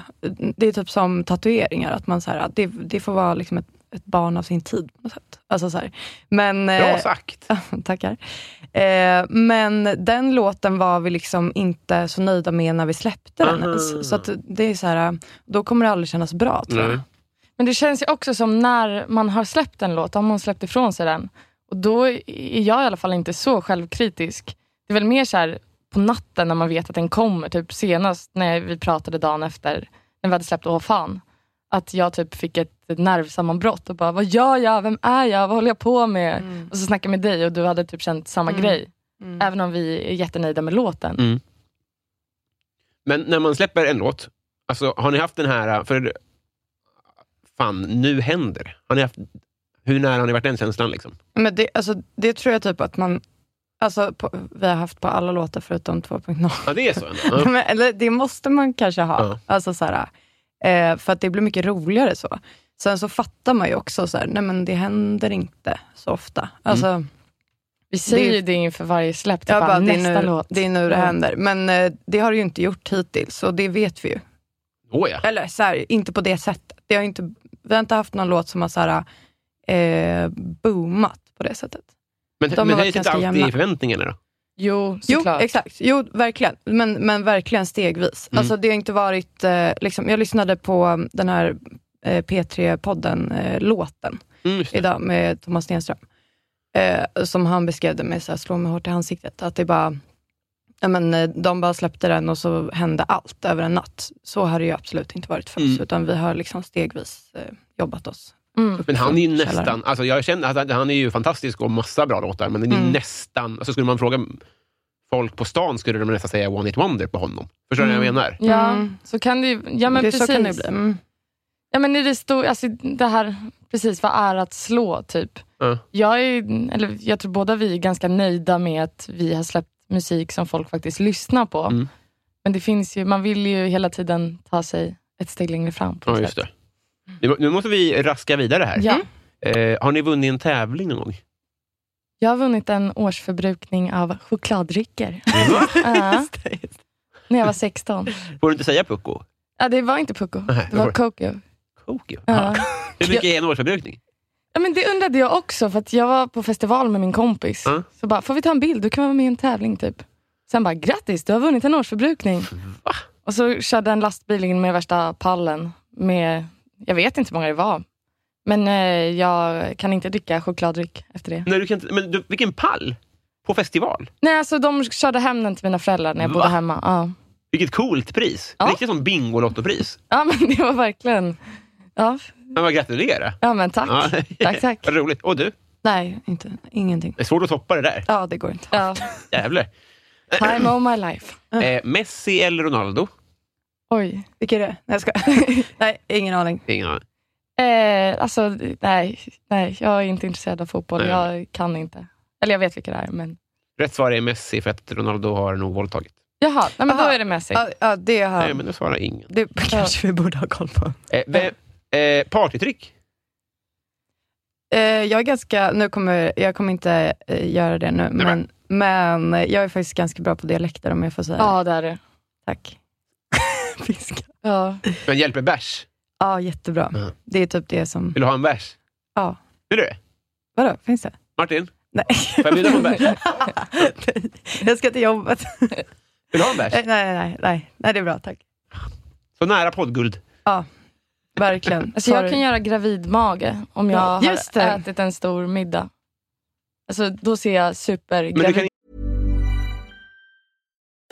S4: det är typ som tatueringar. Att man så här, det, det får vara liksom ett, ett barn av sin tid. På något sätt. Alltså, så här. Men,
S3: Bra
S4: eh,
S3: sagt!
S4: Tackar. Eh, men den låten var vi liksom inte så nöjda med när vi släppte den
S3: Aha.
S4: ens. Så att det är så här, då kommer det aldrig kännas bra tror
S3: Mm. Nej.
S4: jag.
S5: Men det känns ju också som när man har släppt en låt, om man släppt ifrån sig den. Och då är jag i alla fall inte så självkritisk. Det är väl mer så här på natten när man vet att den kommer, typ senast när vi pratade dagen efter, när vi hade släppt Åh fan. Att jag typ fick ett nervsammanbrott och bara, vad gör jag? Vem är jag? Vad håller jag på med?
S4: Mm.
S5: Och så snackade jag med dig och du hade typ känt samma grej. Även om vi är jättenöjda med låten.
S4: Mm.
S3: Men när man släpper en låt, alltså, har ni haft den här... För, fan, nu händer. Har ni haft, hur nära har ni varit den känslan? Liksom?
S4: Men det, alltså, det tror jag typ att man Alltså, på, vi har haft på alla låtar förutom 2.0.
S3: Ja, det är så ändå. Ja.
S4: Men, eller, det måste man kanske ha.
S3: Ja.
S4: Alltså, så här, eh, för att det blir mycket roligare så. Sen så fattar man ju också, så här, nej men det händer inte så ofta.
S3: Mm.
S4: Alltså,
S5: Vi säger
S4: Det-
S5: ju det inför varje släpp, typ
S4: jag
S5: bara,
S4: bara, det,
S5: nästa
S4: är nu,
S5: låt.
S4: det är nu det
S5: Ja.
S4: händer. Men eh, det har det ju inte gjort hittills, och det vet vi ju.
S3: Åh, ja.
S4: Eller så här, inte på det sättet. Det har inte, vi har inte haft någon låt som har så här, eh, boomat på det sättet.
S3: Men,
S4: De har
S3: men det
S4: varit
S3: är inte
S4: ganska
S3: alltid
S4: jämna.
S3: i förväntningarna då?
S5: Jo,
S4: Jo,
S5: såklart. Mm.
S4: exakt. Jo, verkligen. Men, men verkligen stegvis. Alltså, det har inte varit, eh, liksom, jag lyssnade på um, den här eh, P3-podden, eh, låten,
S3: Mm, just det.
S4: idag med Thomas Stenström. Eh, som han beskrev det med, så här, slå mig hårt i ansiktet. Att det bara, ja, men, eh, de bara släppte den och så hände allt över en natt. Så har det ju absolut inte varit för oss,
S5: Mm.
S4: utan vi har liksom stegvis eh, jobbat oss.
S3: Men han är ju
S4: Källaren.
S3: nästan... Alltså jag känner att han- han är ju fantastisk och massa bra låtar, men den är ju
S5: Mm.
S3: nästan... Alltså skulle man fråga folk på stan skulle de nästan säga One Hit Wonder på honom. Förstår ni vad jag menar?
S5: Ja,
S4: Mm.
S5: så kan det ju ja, men
S4: det,
S5: precis.
S4: Så kan det bli. Mm.
S5: Ja, men i det, stor, alltså, det här, precis, vad är att slå, typ?
S3: Ja.
S5: Jag, är, eller, jag tror båda vi är ganska nöjda med att vi har släppt musik som folk faktiskt lyssnar på.
S3: Mm.
S5: Men det finns ju, man vill ju hela tiden ta sig ett steg längre fram. På
S3: Ja,
S5: något
S3: just
S5: sätt. Mm.
S3: det. Nu, nu måste vi raska vidare här.
S5: Ja,
S3: Eh, har ni vunnit en tävling någon gång?
S5: jag har vunnit en årsförbrukning av chokladdrycker. Ja, när jag var 16.
S3: Får du inte säga Pucko?
S5: Ja, det var inte Pucko,
S3: Nej,
S5: det
S3: vad var
S5: var
S3: det?
S5: Coco.
S3: Coke, ja.
S5: Ja.
S3: Hur mycket är en årsförbrukning?
S5: Ja, men det undrade jag också, för att jag var på festival med min kompis.
S3: Ja.
S5: Så bara, får vi ta en bild? Du kan vara med i en tävling typ. Sen bara, grattis, du har vunnit en årsförbrukning. Och så körde en lastbil in med värsta pallen. Med, jag vet inte hur många det var. Men eh, jag kan inte dricka chokladdryck efter det.
S3: Nej, du kan inte, men du, vilken pall! På festival.
S5: Nej, alltså de körde hem den till mina föräldrar när jag bodde
S3: Va?
S5: hemma. Ja.
S3: Vilket coolt pris!
S5: Ja.
S3: Riktigt som Bingolottopris.
S5: ja, men det var verkligen Ja,
S3: Men vad gratulerar.
S5: ja men tack.
S3: Ja.
S5: Tack, tack.
S3: Vad roligt. Och du,
S4: Nej, inte, ingenting.
S3: det är svårt att toppa det där.
S4: Ja, det går inte.
S5: Ja.
S3: Jävlar.
S5: Time of my life.
S3: Eh, Messi eller Ronaldo?
S5: Oj.
S4: Vilka är det? Nej, jag skojar. Nej, ingen aning.
S3: Ingen aning.
S5: Eh, alltså, nej, nej, jag är inte intresserad av fotboll.
S3: Nej.
S5: Jag kan inte. Eller jag vet vilka det är, men...
S3: Rätt svar är Messi för att Ronaldo har nog våldtagit.
S5: Jaha, nej, men då
S4: Aha.
S5: är det Messi.
S4: Ja, ja det har
S3: Nej, men det svarar ingen.
S4: Det kanske vi borde ha koll på.
S3: Eh, vem, eh, partytrick?
S4: Eh, jag är ganska, nu kommer, jag kommer inte eh, göra det nu, men, men eh, jag är faktiskt ganska bra på dialekter om jag får säga.
S5: Ja, det är det.
S4: Tack. Fiska.
S5: Ja.
S3: Men hjälp med bärs?
S4: Ja, jättebra.
S3: Ja.
S4: Det är typ det som...
S3: Vill du ha en bärs?
S4: Ja.
S3: Vill du det?
S4: Vadå, finns det?
S3: Martin?
S4: Nej.
S3: Får jag bjuda på en bärs?
S4: jag ska till jobbet.
S3: Vill du ha en bärs?
S4: nej, nej, nej, nej. Nej, det är bra. Tack.
S3: Så nära poddguld.
S4: Verkligen.
S5: Alltså, jag
S4: Sorry.
S5: kan göra gravidmage om jag
S4: Ja,
S5: har
S4: just det.
S5: ätit en stor middag. Alltså, då ser jag
S3: Men du
S5: supergravid
S3: kan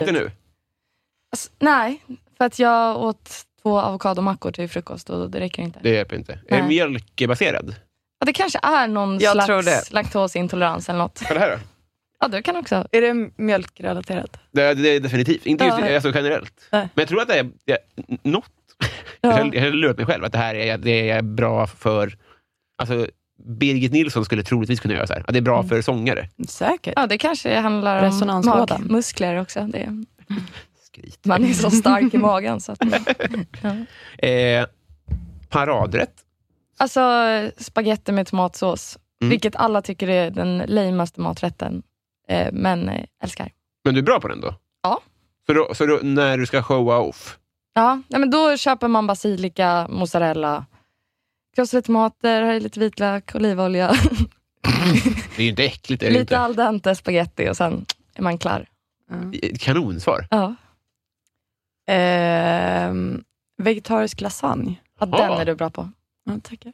S3: inte nu.
S5: Alltså, nej, för att jag åt två avokadomackor till frukost och det räcker inte.
S3: Det hjälper inte. Eh, Är
S5: Nej.
S3: mjölkbaserad?
S5: Ja, det kanske är någon
S4: Jag tror
S5: slags
S4: det.
S5: laktosintolerans eller något.
S3: Kolla här då.
S5: Ja, du kan också.
S4: Är det mjölkrelaterat?
S3: Det, det är definitivt. Inte just
S5: Ja.
S3: alltså generellt.
S4: Nej.
S3: Men jag tror att det är, det är något.
S5: Ja.
S3: Jag, jag har lurat mig själv att det här är, det är bra för... Alltså, Birgit Nilsson skulle troligtvis kunna göra så här. Att det är bra för sångare.
S4: Säkert.
S5: Ja, det kanske handlar om
S4: Resonanslådan.
S5: magmuskler också. Det,
S3: Skrit.
S5: man är så stark i magen. Så att,
S3: Mm. Eh, paradrätt.
S5: alltså, spagetti med tomatsås,
S3: Mm.
S5: vilket alla tycker är den lamaste maträtten, eh, men eh, älskar.
S3: Men du är bra på den då?
S5: Ja.
S3: Så, då, så då, när du ska showa off,
S5: Ja, nej, men då köper man basilika, mozzarella, krossade tomater, har i lite vitlök, olivolja,
S3: det är ju inte äckligt. Är det
S5: lite
S3: inte?
S5: al dente spagetti och sen är man klar.
S3: Kanonsvar.
S5: Ja,
S4: Ehm, vegetarisk lasagne.
S5: ja
S3: Jaha.
S5: den är du bra på.
S4: Ja, tackar.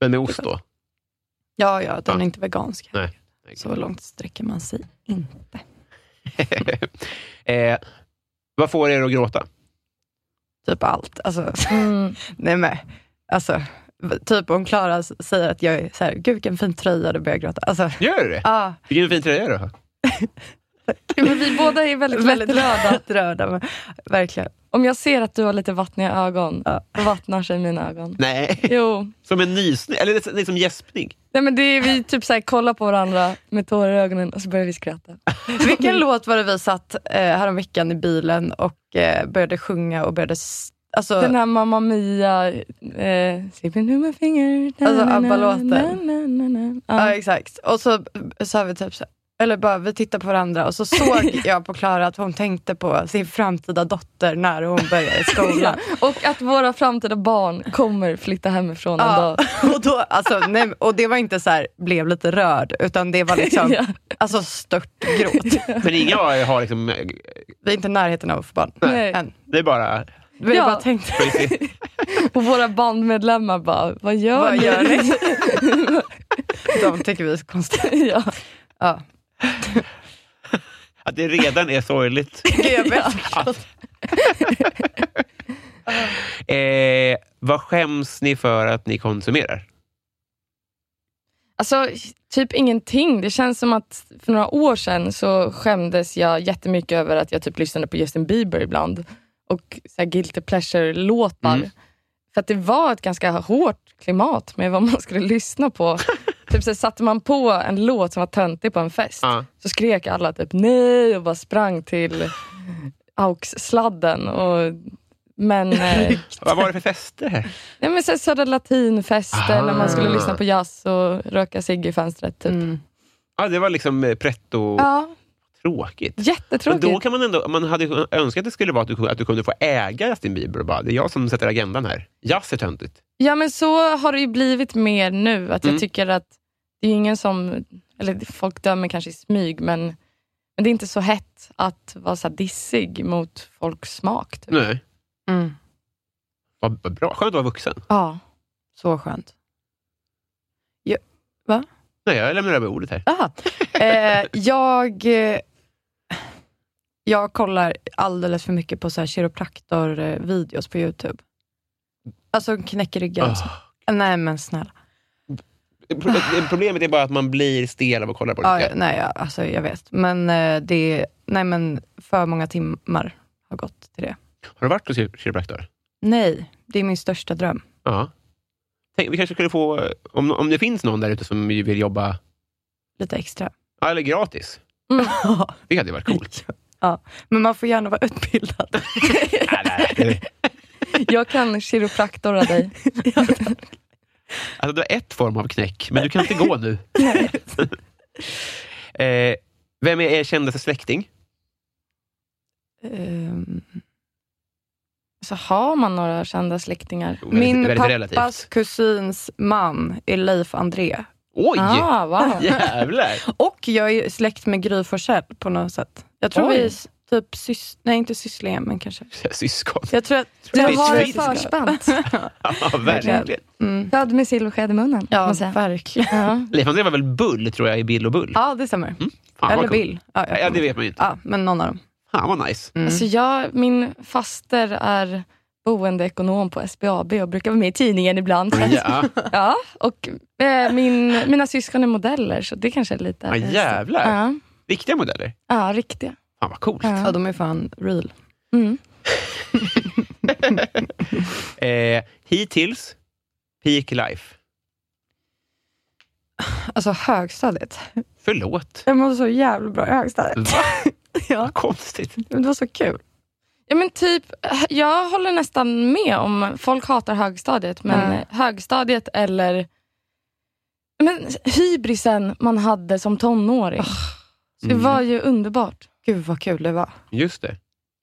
S3: Men med ost då?
S4: Ja, ja, den
S3: Ja.
S4: är inte vegansk.
S3: Nej.
S4: Så långt sträcker man sig inte.
S3: eh, vad får er att gråta?
S4: Typ allt. Alltså,
S5: Mm.
S4: nej men, alltså, v- typ om Klara s- säger att jag är så här, gud vilken fin tröja, då börjar jag gråta. Alltså,
S3: Gör du det?
S4: ja,
S3: Vilken fin tröja du har.
S5: Jo, men vi båda är väldigt, väldigt
S4: väldigt
S5: lättrörda.
S4: röda. Men, verkligen.
S5: Om jag ser att du har lite vattniga ögon,
S4: Ja.
S5: då vattnar sig mina ögon.
S3: Nej,
S5: Jo,
S3: som en nysning. Eller det är som gäspning.
S5: Nej, men det är, vi typ så här, kollar på varandra med tårar i ögonen och så börjar vi skratta.
S4: Vilken låt var det vi satt eh, häromveckan i bilen och eh, började sjunga och började... s- Alltså,
S5: Den här Mamma Mia, eh, Sipping through my finger. na,
S4: Alltså,
S5: na, na,
S4: ABBA-låten.
S5: na, na, na, na.
S4: Ja,
S5: Ja.
S4: exakt. Och så sa vi typ så eller bara vi tittar på varandra och så såg jag på Klara att hon tänkte på sin framtida dotter när hon börjar i skolan.
S5: Och att våra framtida barn kommer flytta hemifrån en
S4: Ja,
S5: dag.
S4: och, då, alltså, nej, men- och det var inte så här, blev lite rörd, utan det var liksom
S5: Ja.
S4: alltså, stört gråt.
S3: Men inga har, har liksom... eh,
S4: Vi är inte i närheten av att få barn.
S5: Nej.
S4: Än.
S3: Det är bara...
S4: Vi
S5: Ja.
S4: bara tänkte,
S5: Och våra bandmedlemmar bara, vad gör
S4: vad
S5: ni?
S4: gör ni? De tycker vi är så konstiga.
S5: ja.
S4: Ja.
S3: Att det redan är sorgligt.
S4: Ja.
S3: Eh, vad skäms ni för att ni konsumerar?
S5: Alltså, typ ingenting. Det känns som att för några år sedan så skämdes jag jättemycket över att jag typ lyssnade på Justin Bieber ibland. och så här, guilty pleasure-låtar.
S3: Mm.
S5: För att det var ett ganska hårt klimat med vad man skulle lyssna på. typ så här, Satte man på en låt som var töntig på en fest
S3: Ja.
S5: så skrek alla typ nej och bara sprang till AUX-sladden. Och, men, eh,
S3: Vad var det för fester?
S5: nej, men så här, Södra Latin-fester
S3: Ah.
S5: när man skulle lyssna på jazz och röka cigg i fönstret. Typ.
S3: Ja, det var liksom eh, pretto...
S5: Ja,
S3: Tråkigt. Men
S5: jättetråkigt.
S3: då kan man ändå... Man hade ju önskat att det skulle vara att du, att du kunde få äga Justin Bieber och bara, det är jag som sätter agendan här. Jazz är töntigt.
S5: Ja, men så har det ju blivit mer nu. Att
S3: Mm.
S5: Jag tycker att det är ingen som... Eller folk dömer kanske i smyg, men, men det är inte så hett att vara så här dissig mot folks smak. Typ.
S3: Nej.
S4: Mm.
S3: Vad, vad bra. Skönt att vara vuxen.
S5: Ja.
S4: Så skönt.
S3: Nej, jag lämnar över ordet här.
S4: Aha. Eh, jag, eh, jag kollar alldeles för mycket på så här
S5: eh,
S4: kiropraktor-videos på YouTube. Alltså knäcker
S3: Ah,
S4: ryggen. och så. Nej men snälla.
S3: Pro- eh, Problemet är bara att man blir stel av att kolla på det.
S4: Ja, nej, jag, alltså, jag vet. Men, eh, det, nej, men för många timmar har gått till det.
S3: Har du varit hos kir- kiropraktor?
S4: Nej, det är min största dröm.
S3: Ja. Tänk, vi kanske skulle få, om, om det finns någon där ute som vill jobba,
S4: Lite extra.
S3: ja, eller gratis.
S4: Mm.
S3: Det hade ju varit coolt.
S4: ja. Men man får gärna vara utbildad.
S3: Nej, nej, nej.
S5: Jag kan kiropraktora dig.
S3: Alltså, du har ett form av knäck, men du kan inte gå nu. eh, vem är er kändaste släkting?
S4: Ehm,
S5: Så har man några kända släktingar?
S4: Min
S3: väldigt
S4: pappas
S3: relativt.
S4: kusins man är Leif André.
S3: Oj!
S5: Ah, wow.
S3: Jävlar!
S4: Och jag är släkt med Gry Forssell på något sätt. Jag tror
S5: Oj.
S4: vi är s- typ sys... Nej, inte sysslingar, men kanske.
S3: Syskon.
S4: Jag tror att...
S5: Du
S3: Lite
S5: har ett
S3: fysiska.
S5: förspänt.
S3: Ja, verkligen.
S4: Mm.
S5: Född med silversked i munnen. kan
S4: Ja,
S5: man säga.
S4: verkligen.
S5: Ja.
S3: Leif André var väl Bull, tror jag, i Bill och Bull?
S4: Ja, det stämmer.
S3: Fan, vad
S4: Eller
S3: coolt.
S4: Bill. Ja, jag
S3: Mm. Ja, det
S4: kommer-
S3: vet man ju inte.
S4: ja, men någon av dem.
S3: Fan, vad nice.
S4: Mm.
S5: Alltså jag, min faster är boendeekonom på SBAB och brukar vara med i tidningen ibland. Så att-
S3: Oh, Ja,
S5: Ja, och eh, min, mina syskon är modeller, så det kanske är lite...
S3: ja, Ah, jävlar.
S5: Ja,
S3: Riktiga modeller.
S5: ja, riktiga.
S3: Fan, vad coolt.
S4: ja,
S5: Ja.
S4: de är fan real.
S5: Mm.
S3: Eh, hittills, peak life.
S4: Alltså högstadiet.
S3: Förlåt.
S4: Jag mådde så jävla bra i högstadiet.
S3: Va?
S4: Ja,
S3: Vad konstigt.
S4: men det var så kul.
S5: Ja, men typ, eh, jag håller nästan med om, folk hatar högstadiet, men
S4: Mm.
S5: högstadiet eller men hybrisen man hade som tonåring. Det
S3: Mm.
S5: var ju underbart.
S4: Gud vad kul det var.
S3: Just det.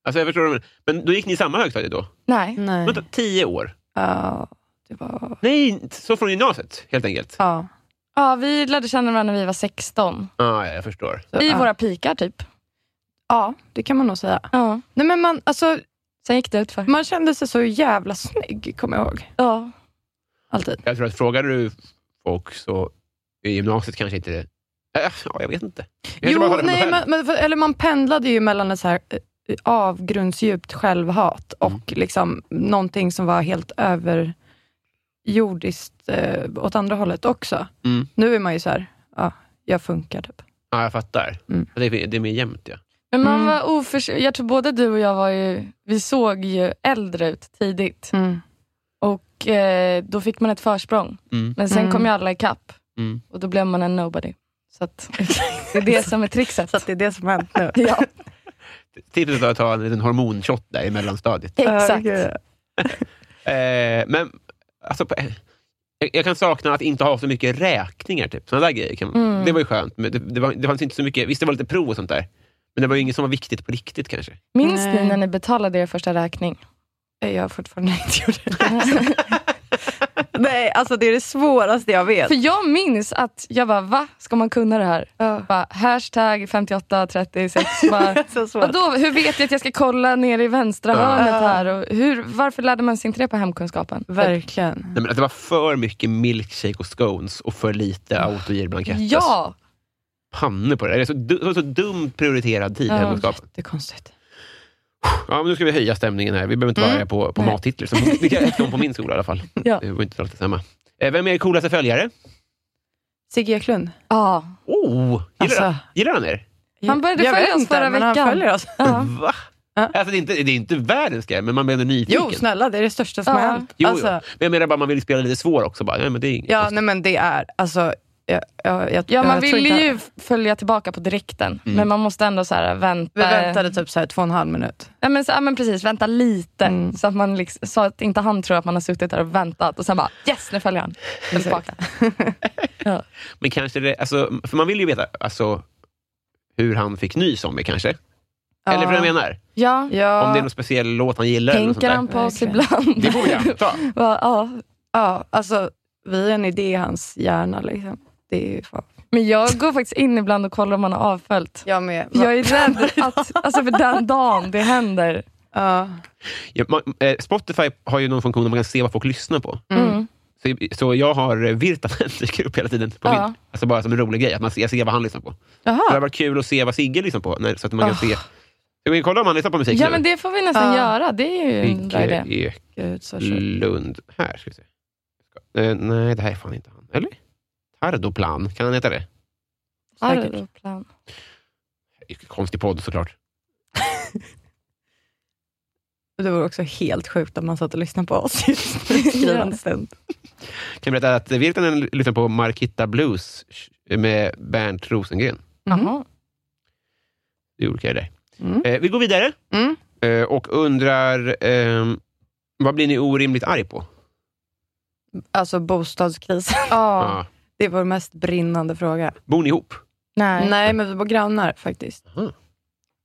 S3: Alltså, jag förstår, vad du menar. men då gick ni i samma högstadie då?
S5: Nej.
S4: Nej.
S3: Vänta, tio år?
S4: Ja, det var...
S3: Nej, så från gymnasiet helt enkelt?
S4: Ja.
S5: Ja, vi lärde känna varandra när vi var 16.
S3: Ah, ja, jag förstår.
S4: så-
S5: I
S4: ja.
S5: våra pikar typ.
S4: Ja, det kan man nog säga.
S5: Ja.
S4: Nej, men man, alltså,
S5: Sen gick det utför.
S4: man kände sig så jävla snygg, kommer jag ihåg.
S5: Ja.
S4: Alltid.
S3: Jag tror att frågar du folk så i gymnasiet kanske inte... Äh, ja, jag vet inte. Jag kanske bara
S4: Jo,
S3: håller mig
S4: nej,
S3: själv.
S4: men, men, för- eller man pendlade ju mellan ett så här eh, avgrundsdjupt självhat
S3: Mm.
S4: och liksom någonting som var helt överjordiskt eh, åt andra hållet också.
S3: Mm.
S4: Nu är man ju så här, ja, jag funkar typ.
S3: Ja, jag fattar.
S4: Mm.
S3: Det, är, det är mer jämnt, ja.
S5: Men man
S4: Mm.
S5: var oförskämd. Jag tror både du och jag var ju, vi såg ju äldre ut tidigt.
S4: Mm.
S5: Och eh, då fick man ett försprång.
S3: Mm.
S5: Men sen
S4: Mm.
S5: kom ju alla ikapp.
S3: Mm.
S5: Och då blev man en nobody. Så att, det är det som är trickset.
S4: Så att det är det som har hänt nu.
S5: ja,
S3: Tipset är att ta en liten hormonshot där i mellanstadiet.
S5: exakt.
S3: Eh, men alltså, på, jag, jag kan sakna att inte ha så mycket räkningar. Typ. Såna där grejer. Kan,
S5: Mm.
S3: Det var ju skönt. Men det, det, var, det fanns inte så mycket, visst, det var lite prov och sånt där. Men det var ju inget som var viktigt på riktigt kanske.
S5: Minns ni
S4: Nej. Eh,
S5: när ni betalade er första räkning?
S4: Jag har fortfarande inte gjort det. Nej, alltså det är det svåraste jag vet.
S5: För jag minns att jag bara, va? Ska man kunna det här? Bara, hashtag 5836. Bara,
S4: Så svårt.
S5: Vadå, hur vet jag att jag ska kolla ner i vänstra
S3: Ja.
S5: hörnet här? Och hur, varför lärde man sig inte det på hemkunskapen?
S4: Verkligen.
S3: Nej, men att det var för mycket milkshake och scones och för lite autogirblankett. Alltså,
S5: Ja!
S3: Panne på det. där. Det är så, du- det var så dumt prioriterad tid,
S5: Ja.
S3: hemkunskap.
S4: Det är konstigt.
S3: Ja, men nu ska vi höja stämningen här. Vi behöver inte vara
S4: Mm.
S3: arga på, på
S5: Nej.
S3: mattitlar. som- Det kan hette de på min skola i alla fall.
S5: Ja.
S3: Det var inte alltid samma. Eh, Vem är er coolaste följare?
S4: Sigge Eklund.
S5: Ja.
S3: Oh, gillar,
S4: Alltså,
S3: gillar han er?
S5: Han började
S4: jag
S5: följa
S4: vet
S5: oss
S4: inte,
S5: förra
S4: men Han
S5: veckan.
S4: följer oss.
S5: ja.
S3: Va?
S4: Ja.
S3: Alltså, det, är inte, det är inte världens grej, men man blir ändå nyfiken.
S4: Jo, snälla, det är det största som
S5: Ja.
S4: har hänt.
S3: Jo,
S4: Alltså,
S3: jo. Men jag menar bara, man vill spela lite svår också. Bara, nej, men det är inget
S4: ja,
S3: konstigt.
S4: nej men det är, alltså, jag, jag, jag,
S5: Ja, man
S4: jag tror
S5: ville
S4: inte- Mm.
S5: ju f- följa tillbaka på direkten, men man måste ändå så här vänta.
S4: Vi väntade typ så här två och en halv minut.
S5: Ja, men, så, ja, men precis, vänta lite. Så, att man liksom, så att inte han tror att man har suttit där och väntat och sen bara yes, nu följer han tillbaka.
S3: Men kanske det, alltså, för man vill ju veta alltså, hur han fick nys om det kanske. Eller för jag menar,
S5: Ja,
S4: Ja,
S3: om det är någon speciell låt han gillar. eller något sånt
S5: tänker han på oss
S4: Verkligen.
S5: ibland?
S3: där. Det får vi anta.
S5: Va, ja.
S4: ja, alltså, vi är en idé i hans hjärna. Liksom. Det är ju fan.
S5: Men jag går faktiskt in ibland och kollar om man har avföljt.
S4: Jag med.
S5: Jag är rädd att, alltså för den dagen det händer.
S4: ja.
S3: Ja, man, eh, Spotify har ju någon funktion där man kan se vad folk lyssnar på.
S4: Mm.
S3: Så, så jag har eh, Virtanen dyker upp hela tiden på
S5: Ja.
S3: min. Alltså bara som en rolig grej, att man ser, jag ser vad han lyssnar på.
S5: Jaha.
S3: Så det har varit kul att se vad Sigge lyssnar på, när, så att man kan
S4: Ah.
S3: se. Jag vill kolla om han lyssnar på musik
S5: Ja
S3: nu.
S5: men det får vi nästan
S4: Ja.
S5: göra, det är Mm. ju en bra idé.
S3: Sigge
S4: Gud, så sjukt.
S3: Eklund. Här ska vi se. Ska, eh, nej, det här är fan inte han. Eller? Tardoplan, kan han heta det?
S4: Säkert.
S5: Arvoplan.
S3: Konstig podd såklart.
S4: Det vore också helt sjukt om man satt och lyssnade på oss just nu.
S5: Ja.
S4: skrivandes stund.
S3: Kan jag berätta att Virtanen lyssnar på Markitta Blues med Bernt Rosengren.
S5: Jaha.
S3: Det gjorde jag det.
S4: Mm.
S3: Eh, vi går vidare
S4: Mm.
S3: eh, och undrar, ehm, vad blir ni orimligt arg på?
S4: Alltså bostadskrisen.
S5: Ja.
S3: Ah,
S4: Det är vår mest brinnande fråga.
S3: bor ni ihop?
S5: Nej.
S4: Nej, men vi bor grannar faktiskt,
S3: Aha.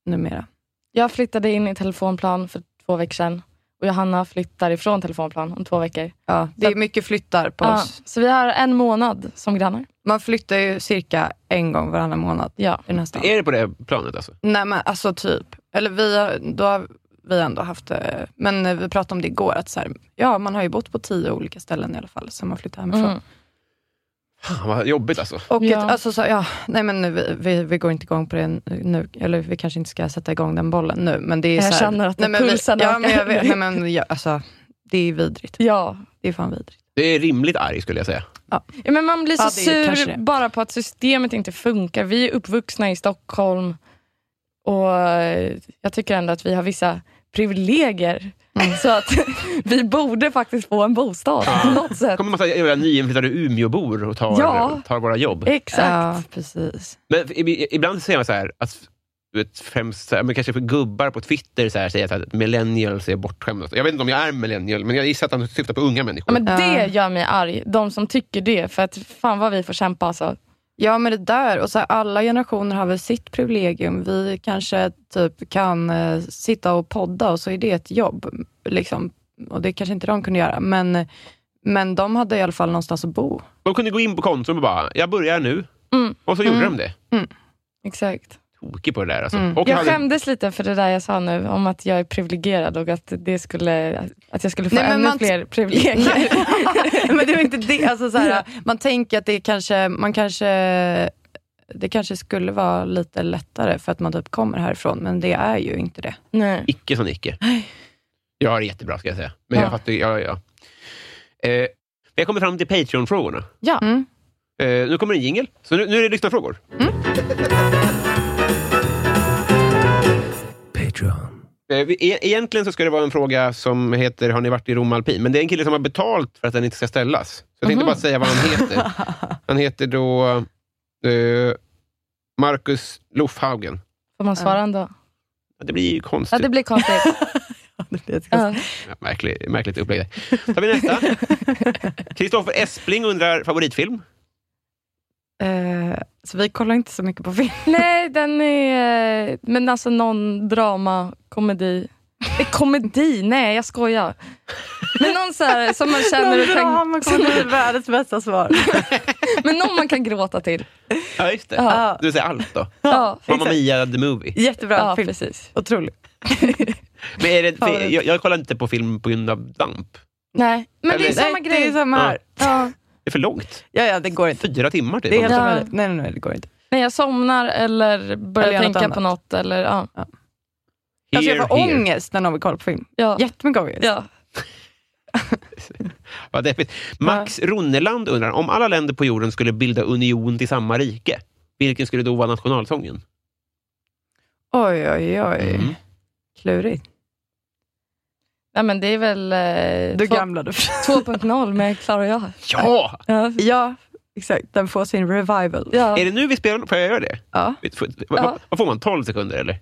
S4: numera.
S5: Jag flyttade in i telefonplan för två veckor sedan och Johanna flyttar ifrån telefonplan om två veckor.
S4: Ja, det är mycket flyttar på
S5: Ja,
S4: oss.
S5: så vi har en månad som grannar.
S4: Man flyttar ju cirka en gång varannan månad
S5: Ja.
S4: i den här stan.
S3: Är det på det här planet alltså?
S4: Nej men alltså typ, eller vi har, då har vi ändå haft, eh, men eh, vi pratade om det igår, att så här, ja man har ju bott på tio olika ställen i alla fall, sen man flyttade hemifrån.
S5: Mm.
S3: Fan, vad jobbigt alltså.
S4: Och
S5: Ja.
S4: ett, alltså, så, ja, nej men nu, vi, vi, vi går inte igång på det nu, eller vi kanske inte ska sätta igång den bollen nu, men det är
S5: Jag
S4: så här,
S5: känner att
S4: nej, men, vi-
S5: pulsen
S4: ja,
S5: ökar.
S4: men jag vet, nej men ja, alltså, det är vidrigt.
S5: Ja.
S4: Det är fan vidrigt.
S3: Det är rimligt arg skulle jag säga.
S5: ja, men man blir så
S4: Ja, det är kanske
S5: sur
S4: det.
S5: bara på att systemet inte funkar. Vi är uppvuxna i Stockholm och eh, jag tycker ändå att vi har vissa privilegier.
S4: Mm.
S5: Så att vi borde faktiskt få en bostad på något sätt.
S3: kommer en massa jävla nyinflyttade Umeåbor och tar,
S5: Ja. Eh.
S3: tar våra jobb.
S5: Exakt.
S4: Ja, precis.
S3: Men i- i- ibland säger man så här, att du vet, främst, så här, men kanske för gubbar på Twitter så här, säger så här, att millennials är bortskämda. Jag vet inte om jag är millennial, men jag gissar att han syftar på unga
S5: Ja,
S3: människor.
S5: men det
S4: Ja.
S5: gör mig arg, de som tycker det. För att fan vad vi får kämpa alltså.
S4: Ja, men det där. Och så här, alla generationer har väl sitt privilegium. Vi kanske typ kan eh, sitta och podda och så är det ett jobb. Liksom. Och det kanske inte de kunde göra, men, men de hade i alla fall någonstans att bo.
S3: De kunde gå in på Konsum och bara, jag börjar nu.
S5: Mm.
S3: Och så gjorde de det.
S5: Exakt.
S3: Tokig på det där alltså.
S4: Mm.
S3: Och
S5: Jag
S3: hade-
S5: skämdes lite för det där jag sa nu om att jag är privilegierad och att, det skulle, att jag skulle få
S4: Nej, men
S5: ännu
S4: man-
S5: fler privilegier.
S4: men det var inte det. Alltså, så här, man tänker att det kanske, man kanske, det kanske skulle vara lite lättare för att man typ kommer härifrån, men det är ju inte det.
S5: Nej.
S3: Icke som Icke. Jag har det jättebra ska jag säga. Men
S5: Ja.
S3: jag fattar ju- ja, ja. ja. Eh, vi har kommit fram till Patreon-frågorna.
S5: Ja.
S4: Mm.
S3: Eh, nu kommer en jingel. Så nu, nu är det lyssnarfrågor.
S5: Mm.
S6: Patreon.
S3: Eh, vi- e- Egentligen så ska det vara en fråga som heter Har ni varit i Rom alpin? Men det är en kille som har betalt för att den inte ska ställas. Så jag tänkte
S5: Mhm.
S3: bara säga vad han heter. Han heter då eh, Marcus Lofhaugen.
S5: Får man svara ändå?
S3: Ja, Det blir ju
S5: Ja,
S3: konstigt.
S5: det blir konstigt.
S4: Det blir ett
S5: Ja.
S3: Ja, märklig, märkligt upplägg. där. tar vi nästa. Kristoffer Espling undrar favoritfilm.
S4: Eh, så vi kollar inte så mycket på film.
S5: Nej, den är... Men alltså någon drama, komedi. Eh, Komedi? Nej, jag skojar. Men någon så här, som man känner... och kan, som,
S4: bli världens bästa svar.
S5: men någon man kan gråta till.
S3: Ja, just det.
S5: Ja.
S3: Du säger allt då.
S5: Ja,
S3: Mamma Mia the Movie.
S4: Jättebra
S5: ja
S4: film.
S5: precis.
S4: Otroligt.
S3: Men är det, för,
S4: Favorit.
S3: jag, jag kollar inte på film på grund av damp.
S5: Nej, men det är
S3: Eller-
S5: samma
S4: Nej,
S5: grej.
S4: Det är samma här.
S5: Ja.
S3: Det är för långt.
S4: Ja, ja, det går inte.
S3: Fyra timmar typ.
S4: Det är helt
S5: Ja.
S4: omöjligt. Nej, nej, nej, det går inte.
S5: När jag somnar eller börjar
S4: Eller gör något
S5: tänka på
S4: annat.
S5: något. Eller, ja.
S4: Alltså, jag får
S3: Here, here.
S4: ångest när någon vill kolla på film.
S5: Ja.
S4: Jättemycket ångest.
S5: Ja.
S3: Vad deppigt. Max Ronneland undrar, om alla länder på jorden skulle bilda union till samma rike, vilken skulle då vara nationalsången?
S4: Mm. Oj, oj, oj. Klurigt.
S5: Nej, men det är väl eh,
S4: Du
S5: två-
S4: gamlade.
S5: 2.0 med Klara och jag.
S3: Ja!
S5: Ja.
S4: ja, exakt. Den får sin revival.
S5: Ja.
S3: Är det nu vi spelar? Får jag göra det?
S4: Ja,
S3: Får- Vad
S5: Ja.
S3: vad får man? 12 sekunder eller?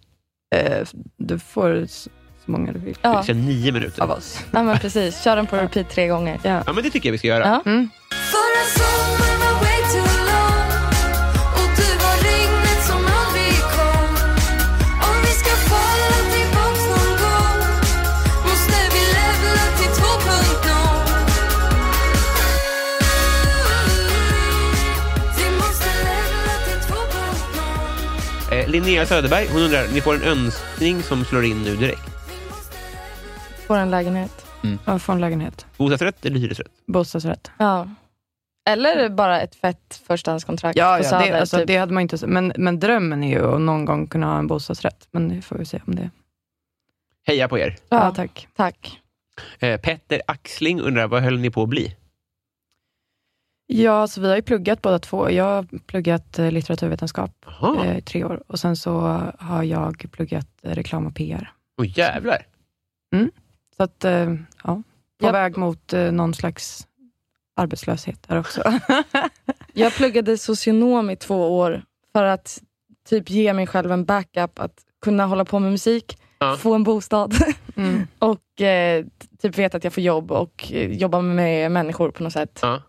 S4: eh, du får s- så många du vill
S5: Ja.
S3: Det känns nio minuter.
S4: av oss.
S5: ja, men precis. Kör den på repeat tre gånger.
S3: Ja, men det tycker jag vi ska göra.
S5: Ja.
S3: Eh, Linnea Söderberg hon undrar, ni får en önskning som slår in nu direkt.
S5: Får en lägenhet.
S4: Ja, får en lägenhet.
S3: Bostadsrätt eller hyresrätt?
S4: Bostadsrätt.
S5: Ja. Eller bara ett fett förstahandskontrakt
S4: Ja,
S5: på
S4: ja det,
S5: Söder.
S4: alltså,
S5: typ.
S4: det hade man inte, s- men, men drömmen är ju att någon gång kunna ha en bostadsrätt. Men det får vi se om det.
S3: Heja på er!
S4: Ja,
S5: ja, tack.
S4: tack.
S5: tack.
S3: Eh, Petter Axling undrar, vad höll ni på att bli?
S4: Ja, så vi har ju pluggat båda två. Jag har pluggat eh, litteraturvetenskap
S3: Jaha,
S4: eh, i tre år och sen så har jag pluggat eh, reklam och PR.
S3: åh jävlar.
S4: Så att, eh, ja, på
S5: Ja.
S4: väg mot eh, någon slags arbetslöshet där också.
S5: Jag pluggade socionom i två år för att typ ge mig själv en backup att kunna hålla på med musik,
S3: Ja.
S5: få en bostad
S4: Mm.
S5: och eh, typ veta att jag får jobb och eh, jobba med människor på något sätt.
S3: Ja.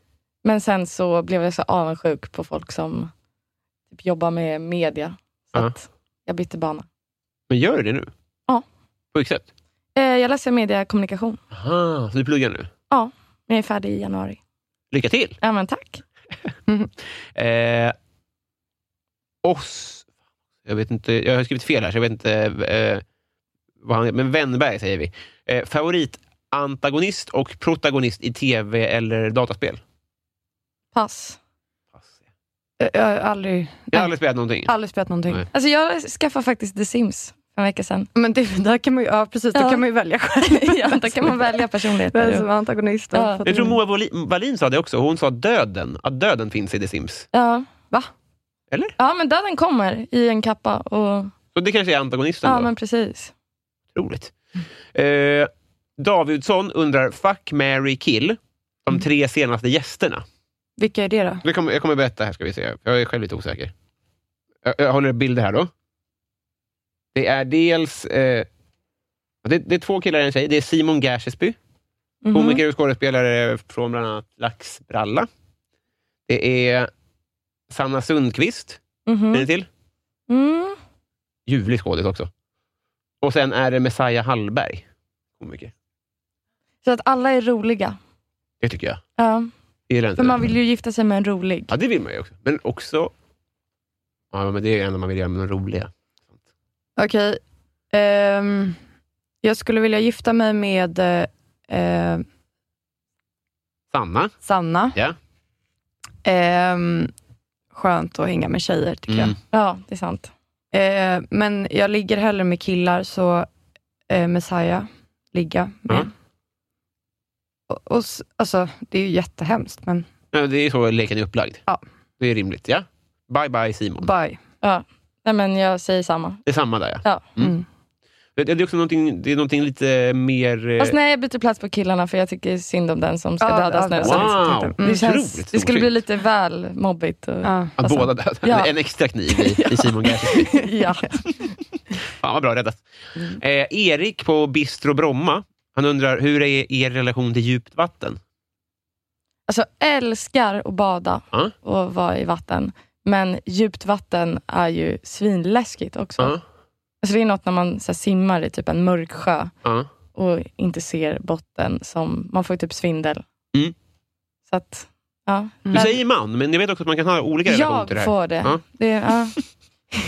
S5: Men sen så blev jag så avundsjuk på folk som typ jobbar med media. Så
S3: Ja.
S5: att jag bytte bana.
S3: Men gör du det nu?
S5: Ja.
S3: På Accept?
S5: Eh, jag läser mediekommunikation.
S3: Aha, så du pluggar nu?
S5: Jag är färdig i januari.
S3: Lycka till!
S5: Ja, men tack.
S3: Eh, oss... Jag vet inte, jag har skrivit fel här, så jag vet inte eh, vad han Men Wennberg säger vi. Eh, favorit antagonist och protagonist i tv eller dataspel?
S5: Pass.
S3: Pass.
S4: Eh, Jag har aldrig,
S3: Jag har aldrig spelat någonting.
S4: aldrig spelat någonting.
S3: Nej.
S5: Alltså jag skaffade faktiskt The Sims för en vecka sedan.
S4: Men det, där kan man ju, ja, precis,
S5: Ja.
S4: då kan man ju välja själv. Alltså,
S5: ja, då kan man välja
S4: Vem som
S5: personligheter.
S4: är antagonist.
S5: Ja.
S4: För att-
S3: Jag tror Moa Wallin- Wallin sa det också. Hon sa döden. Att döden finns i The Sims.
S5: Ja.
S4: Va?
S3: Eller?
S5: Ja, men döden kommer i en kappa. Och...
S3: Så det kanske är antagonisten
S5: Ja,
S3: då.
S5: men precis.
S3: Roligt. Eh, Davidsson undrar, fuck, Mary kill. De tre senaste gästerna.
S4: Vilka är det då?
S3: Jag kommer, jag kommer berätta här, ska vi se. Jag är själv lite osäker. Jag, jag håller upp bilder här då. Det är dels... Eh, det, det är två killar och en tjej. Det är Simon Gershesby,
S5: Mhm.
S3: komiker och skådespelare från bland annat Laxbralla. Det är Sanna Sundqvist,
S5: Mhm.
S3: känner ni till?
S5: Mm.
S3: Ljuvlig skådis också. Och sen är det Messiah Hallberg, komiker.
S5: Så att alla är roliga.
S3: Det tycker jag.
S5: Ja,
S3: Jag gillar inte
S5: för man
S3: det.
S5: vill ju gifta sig med en rolig.
S3: Ja, det vill man ju också. Men också... Ja, men det är det enda man vill göra med de roliga.
S4: Okej. ehm, jag skulle vilja gifta mig med eh, eh,
S3: Sanna.
S4: Sanna.
S3: Ja.
S4: Ehm, skönt att hänga med tjejer tycker
S3: Mm.
S4: jag.
S5: Ja, det är sant.
S4: Eh, men jag ligger hellre med killar, så eh, Messiah ligga med.
S3: Ja.
S4: Och, och, s- alltså, det är ju jättehemskt, men
S3: Nej, det är så leken är upplagd.
S4: Ja.
S3: Det är rimligt. ja. Bye, bye Simon.
S4: bye.
S5: Nej, men jag säger samma.
S3: Det är samma där. Ja. Mm.
S4: Mm.
S3: Det det är också någonting, det är någonting lite mer... eh,
S5: Fast nej, jag byter plats på killarna för jag tycker synd om den som ska
S3: Ah,
S4: Ja,
S5: dödas
S4: ja,
S5: nu.
S4: ja.
S5: Så
S3: Wow!
S4: jag tänkte, mm.
S5: typ. Det, känns,
S3: Otroligt
S5: det skulle bli
S3: storsint.
S5: lite väl mobbigt. Och...
S4: Ja.
S3: Att
S5: alltså.
S3: båda dödar.
S5: Ja.
S3: En extra kniv i, i Simon Gershesby.
S5: ja.
S3: Fan vad bra räddat.
S5: Mm.
S3: Eh, Erik på Bistro Bromma, han undrar hur är er relation till djupt vatten?
S5: Alltså älskar att bada
S3: Ja.
S5: och vara i vatten. Men djupt vatten är ju svinläskigt också.
S3: Ja,
S5: Alltså det är något när man så här, simmar i typ en mörk sjö
S3: ja.
S5: och inte ser botten. Som, man får ju typ svindel.
S3: Mm.
S5: Så att, ja.
S3: Du säger man, men jag vet också att man kan ha olika relationer
S5: jag
S3: till det här.
S5: får det.
S3: Ja.
S5: det ja.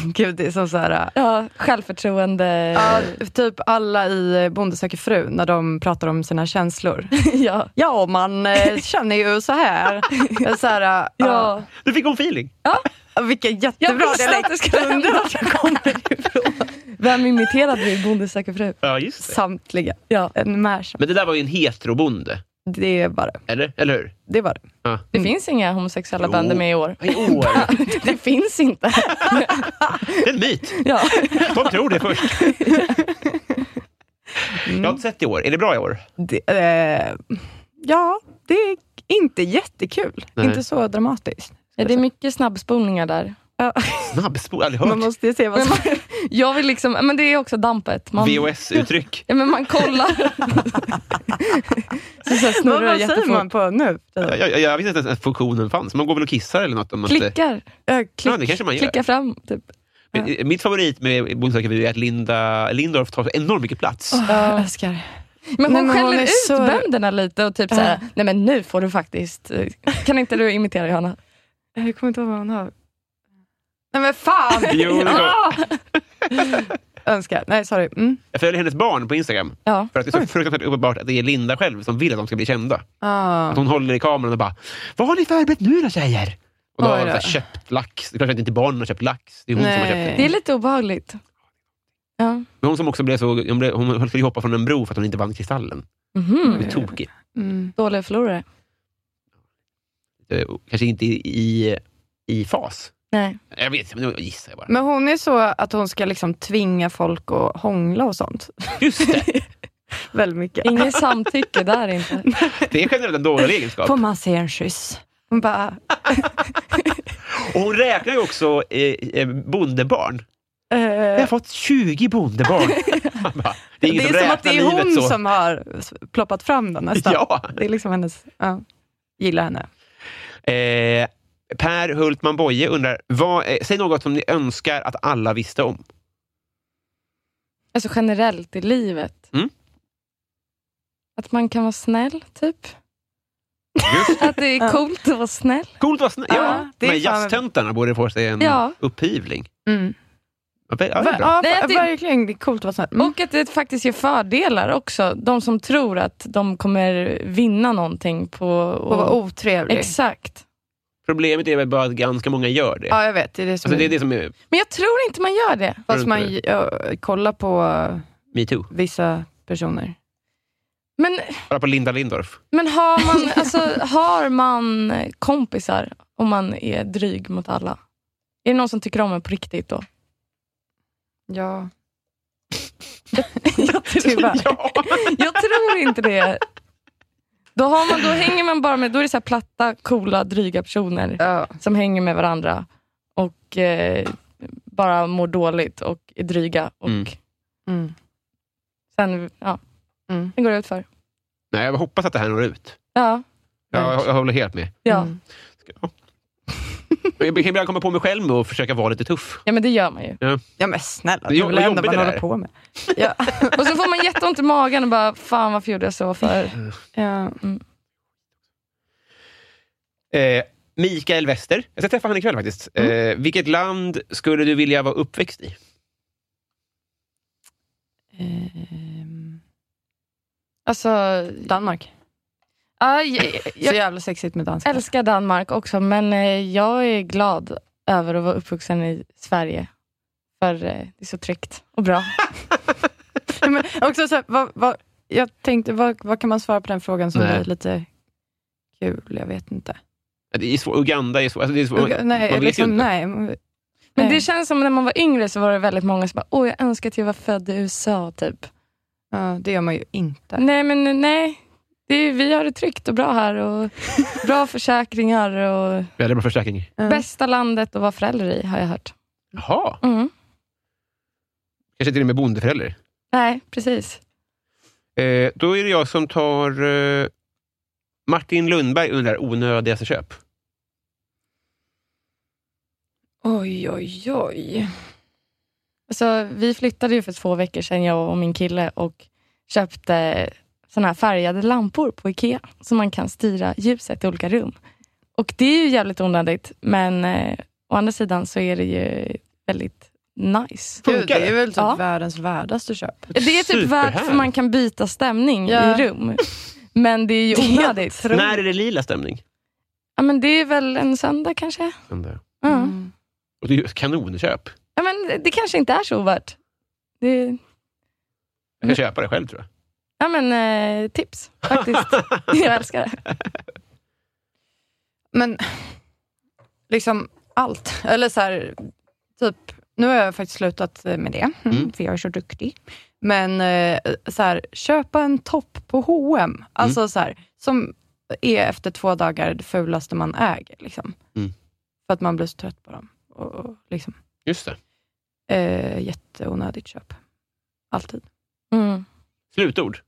S4: Gud, det är som så här...
S5: ja, självförtroende.
S3: Ah.
S4: Ja, typ alla i Bonde söker fru när de pratar om sina känslor.
S5: ja.
S4: Ja, man eh, känner ju så här. Eh, så här ja.
S5: Ja.
S3: Du fick hon feeling.
S4: Vilken
S5: Jag
S4: jättebra
S5: visste att
S4: dialekt.
S5: det skulle hända. Vem imiterade vi? Bonde söker fru?
S3: Ja, just det.
S4: Samtliga. Ja. En märsa.
S3: Men det där var ju en heterobonde,
S4: Det var det.
S3: eller? Eller hur?
S4: Det var det.
S5: Det finns inga homosexuella
S3: Jo.
S5: bönder med i år.
S3: I år.
S5: Det finns inte.
S3: Det är en myt.
S5: Ja.
S3: De tror det först.
S5: Mm.
S3: Jag har inte sett i år. Är det bra i år?
S4: Det, eh, ja, det är inte jättekul.
S3: Nej.
S4: Inte så dramatiskt.
S5: Ja, det är mycket snabbspolningar där.
S3: Snabbspol? Aldrig
S4: Man
S3: hört.
S4: måste ju se vad som...
S5: Jag vill liksom, men det är också dampet. Man,
S3: VHS-uttryck.
S5: ja, men man kollar. så så här snurrar
S4: Vad, vad
S5: det
S4: säger
S5: jättefort.
S4: man på nu?
S3: Jag, jag, jag visste inte ens att funktionen fanns. Man går väl och kissar eller något. Om man inte...
S5: Klickar.
S4: Ja,
S3: Ja, det kanske man gör.
S5: Klicka fram, typ.
S3: Men, eh, Mitt favorit med Bonde söker fru är att Linda Lindorff tar så enormt mycket plats.
S5: Ah.
S4: Jag älskar det.
S5: Men
S4: Nej, men
S5: hon
S4: hon
S5: skäller
S4: är
S5: ut
S4: så-
S5: bönderna lite och typ såhär, nej men nu får du faktiskt, eh, kan inte du imitera Johanna?
S4: Jag kommer inte ihåg vad hon har. Nej men fan!
S3: Jo, det är klart.
S4: ah! Önskar. Nej, sorry. Mm.
S3: Jag följer hennes barn på Instagram.
S5: Ja.
S3: För att det är så fruktansvärt uppenbart att det är Linda själv som vill att de ska bli kända. Att
S4: Ah.
S3: hon håller i kameran och bara “Vad har ni förberett nu då tjejer?” Och då har
S4: Oj
S3: de
S4: då.
S3: så här köpt lax. Det är klart att inte barnen har köpt lax. Det är hon som har
S4: Nej.
S3: köpt
S5: Det
S3: det.
S5: är lite obehagligt. Ja.
S3: Men hon som också blev så... Hon, blev, hon skulle hoppa från en bro för att hon inte vann Kristallen.
S5: Mhm.
S3: Det är tokigt.
S4: Mm.
S5: Dåliga förlorare.
S3: Eh, och Kanske inte i, i, i fas.
S5: Nej.
S3: Jag vet inte, men nu gissar jag bara.
S4: Men hon är så att hon ska liksom tvinga folk att hångla och sånt.
S3: Just det!
S4: Väldigt mycket.
S5: Inget samtycke där inte.
S3: Det är generellt en dålig egenskap.
S4: Får man se en kyss? Hon bara, eh,
S3: Och hon räknar ju också eh, eh, bondebarn. Jag har
S4: eh,
S3: fått 20 bondebarn. Man bara, det är ingen
S4: det
S3: som
S4: är som att
S3: räknar
S4: det är hon
S3: livet så.
S4: som har s- ploppat fram den nästan.
S3: Ja.
S4: Det är liksom hennes, ja. Gillar henne.
S3: Eh, per Hultman Boye undrar, vad, eh, säg något som ni önskar att alla visste om.
S5: Alltså generellt i livet.
S3: Mm.
S5: Att man kan vara snäll, typ.
S3: Just.
S5: Att det är coolt att vara snäll.
S3: Coolt vad snä- ja,
S4: Ja, det är
S3: Men
S4: fan-
S3: jazztöntarna borde få sig en
S5: Ja.
S3: upphyvling.
S4: Mm.
S3: Ja, det är
S4: Va-
S3: bra.
S4: Ja,
S5: Nej, att det-
S4: det... Verkligen, det är coolt att vara snäll. Mm.
S5: Och att det faktiskt ger fördelar också. De som tror att de kommer vinna någonting på...
S4: Och vara otrevlig.
S5: Exakt.
S3: Problemet är väl bara att ganska många gör det.
S4: ja, jag vet. Det är det som
S3: Alltså, det är
S4: är...
S3: det som är
S5: Men jag tror inte man gör det.
S4: Fast man
S3: Tror du
S4: ja, kollar på eh,
S3: metoo.
S4: vissa personer.
S5: Men,
S3: Bara på Linda Lindorff.
S5: men har, man, alltså, har man kompisar om man är dryg mot alla? Är det någon som tycker om en på riktigt då?
S4: Ja. Tyvärr.
S3: Ja.
S5: Jag tror inte det. Då, har man, då hänger man bara med, då är det så här platta, coola, dryga personer
S4: Ja.
S5: som hänger med varandra och eh, bara mår dåligt och är dryga. Och
S3: Mm.
S4: Mm.
S5: sen, ja,
S4: Mm.
S5: det går ut för.
S3: Nej, jag hoppas att det här når ut.
S5: Ja,
S3: Jag, jag, jag håller helt med.
S5: ja.
S4: Mm.
S3: Jag kan ibland komma på mig själv med att försöka vara lite tuff.
S5: ja, men det gör man ju.
S4: Ja men snälla,
S3: Det är
S4: det är väl det enda
S3: jobbigt
S4: man
S3: det
S4: håller
S3: där.
S4: på med. Ja.
S5: Och så får man jätteont i magen och bara, fan varför gjorde jag så för?
S4: ja.
S3: Eh, Mikael Wester. Jag ska träffa honom ikväll faktiskt.
S4: Mm.
S3: Eh, vilket land skulle du vilja vara uppväxt i?
S4: Ehm,
S5: Alltså,
S4: Danmark.
S5: ja, jag,
S4: Så
S5: jag
S4: jävla sexigt med danska.
S5: älskar Danmark också, men eh, jag är glad över att vara uppvuxen i Sverige. För eh, det är så tryggt och bra.
S4: Ja, men också så här, vad, vad, jag tänkte, vad, vad kan man svara på den frågan som
S3: Nej.
S4: blir lite kul? Jag vet inte.
S3: Ja, Det är svårt. Uganda är svårt. Alltså, det är svårt.
S4: Uga-
S3: man
S4: nej,
S3: vet ju
S4: liksom,
S3: inte.
S4: nej.
S5: Men
S4: Nej.
S5: det känns som när man var yngre så var det väldigt många som bara, åh jag önskar att jag var född i USA typ.
S4: Ja, det gör man ju inte.
S5: Nej men eh, nej, det är, vi har det tryggt och bra här och bra försäkringar och
S3: Väldigt bra förstärkning.
S4: Mm.
S5: bästa landet att vara förälder i har jag hört.
S3: Jaha.
S5: Mm.
S3: Kanske till och med bondeförälder.
S5: Nej, precis.
S3: Eh, då är det jag som tar... Eh, Martin Lundberg undrar onödigaste köp.
S4: Oj, oj, oj.
S5: Alltså, vi flyttade ju för två veckor sedan jag och min kille och köpte såna här färgade lampor på Ikea så man kan styra ljuset i olika rum. Och det är ju jävligt onödigt men eh, å andra sidan så är det ju väldigt nice.
S4: Gud, det är väl typ
S5: Ja.
S4: världens värdaste köp.
S5: Det är typ värt för
S3: Superhärligt.
S5: man kan byta stämning
S4: Ja.
S5: i rum. Men det är ju onödigt.
S3: När är det lila stämning?
S5: Ja, men det är väl en söndag kanske? Ja.
S4: Mm.
S3: Och det är ju ett kanonköp.
S5: Ja, men det kanske inte är så ovärt. Det,
S3: Jag
S4: Mm.
S3: kan köpa det själv tror jag.
S5: ja, men, eh, tips faktiskt. jag älskar det.
S4: Men liksom allt. Eller så här, typ, nu har jag faktiskt slutat med det, mm. för jag är så duktig. Men eh, så här, köpa en topp på H&M alltså så här, som är efter två dagar det fulaste man äger. Liksom.
S3: Mm.
S4: För att man blir så trött på dem. Och, och, liksom,
S3: Just det.
S4: eh, jätteonödigt köp. Alltid.
S5: Mm.
S3: Slutord.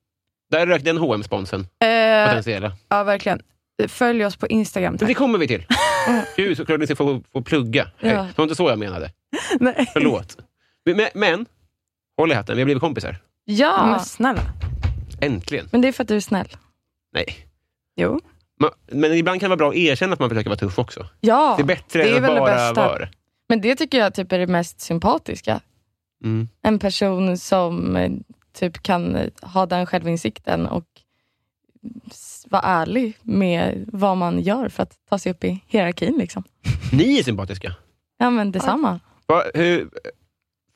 S3: Där rök den hm sponsen
S4: Eh,
S3: potentiella.
S4: ja, verkligen. Följ oss på Instagram.
S3: Men det
S4: Tack.
S3: kommer vi till. Gud, såklart ni ska få, få plugga. Nej,
S5: Ja.
S3: Det var inte så jag menade.
S4: Nej.
S3: Förlåt. Men, men- men håll i hatten, vi har blivit kompisar.
S5: Ja,
S4: Men snälla.
S3: Äntligen.
S5: men det är för att du är snäll.
S3: Nej.
S4: Jo.
S3: Man, men ibland kan det vara bra att erkänna att man försöker vara tuff också.
S5: Ja,
S3: det är bättre
S4: det är
S3: än att
S4: väl det
S3: bara
S4: bästa.
S3: vara.
S5: men det tycker jag typ är det mest sympatiska.
S3: Mm.
S5: En person som eh, typ kan eh, ha den självinsikten och s- vara ärlig med vad man gör för att ta sig upp i hierarkin. Liksom.
S3: Ni är sympatiska.
S5: Ja, men detsamma.
S3: Va, hur,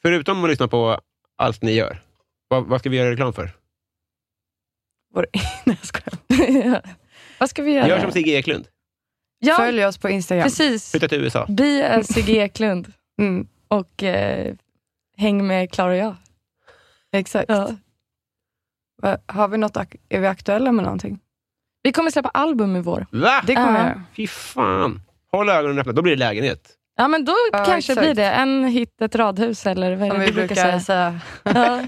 S3: förutom att lyssna på allt ni gör, vad, vad ska vi göra reklam för?
S4: Vår... Nej, jag skojar.
S5: Ja. Vad ska vi göra?
S3: Gör som Sigge Eklund.
S5: ja,
S4: Följ oss på Instagram.
S5: precis.
S3: Flytta till USA.
S5: Bli en Sigge Eklund
S4: Mm,
S5: och eh, häng med Klara och jag.
S4: exakt.
S5: Ja.
S4: Va- Har vi något, ak- är vi aktuella med någonting?
S5: Vi kommer släppa album i vår.
S3: Va?
S4: Det kommer
S5: Ja.
S4: vi göra.
S3: Fy fan. Håll ögonen öppna, då blir det lägenhet.
S5: Ja, men då
S4: Ja,
S5: kanske
S4: exakt.
S5: blir det en hit, ett radhus eller vad är
S4: Som
S5: det
S4: vi
S5: du
S4: brukar,
S5: brukar säga.
S4: säga.
S5: Ja,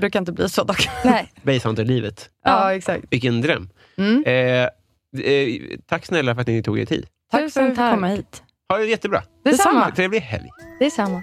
S4: brukar inte bli så dock.
S5: nej.
S3: Basehunter-livet.
S4: Ja, exakt.
S3: Vilken dröm.
S4: Mm.
S3: Eh, eh, tack snälla för att ni tog er tid.
S4: Tack för att vi
S5: Tusen
S4: fick komma
S5: tack.
S4: hit.
S3: Ha det jättebra.
S5: Detsamma.
S3: Trevlig helg.
S5: Detsamma.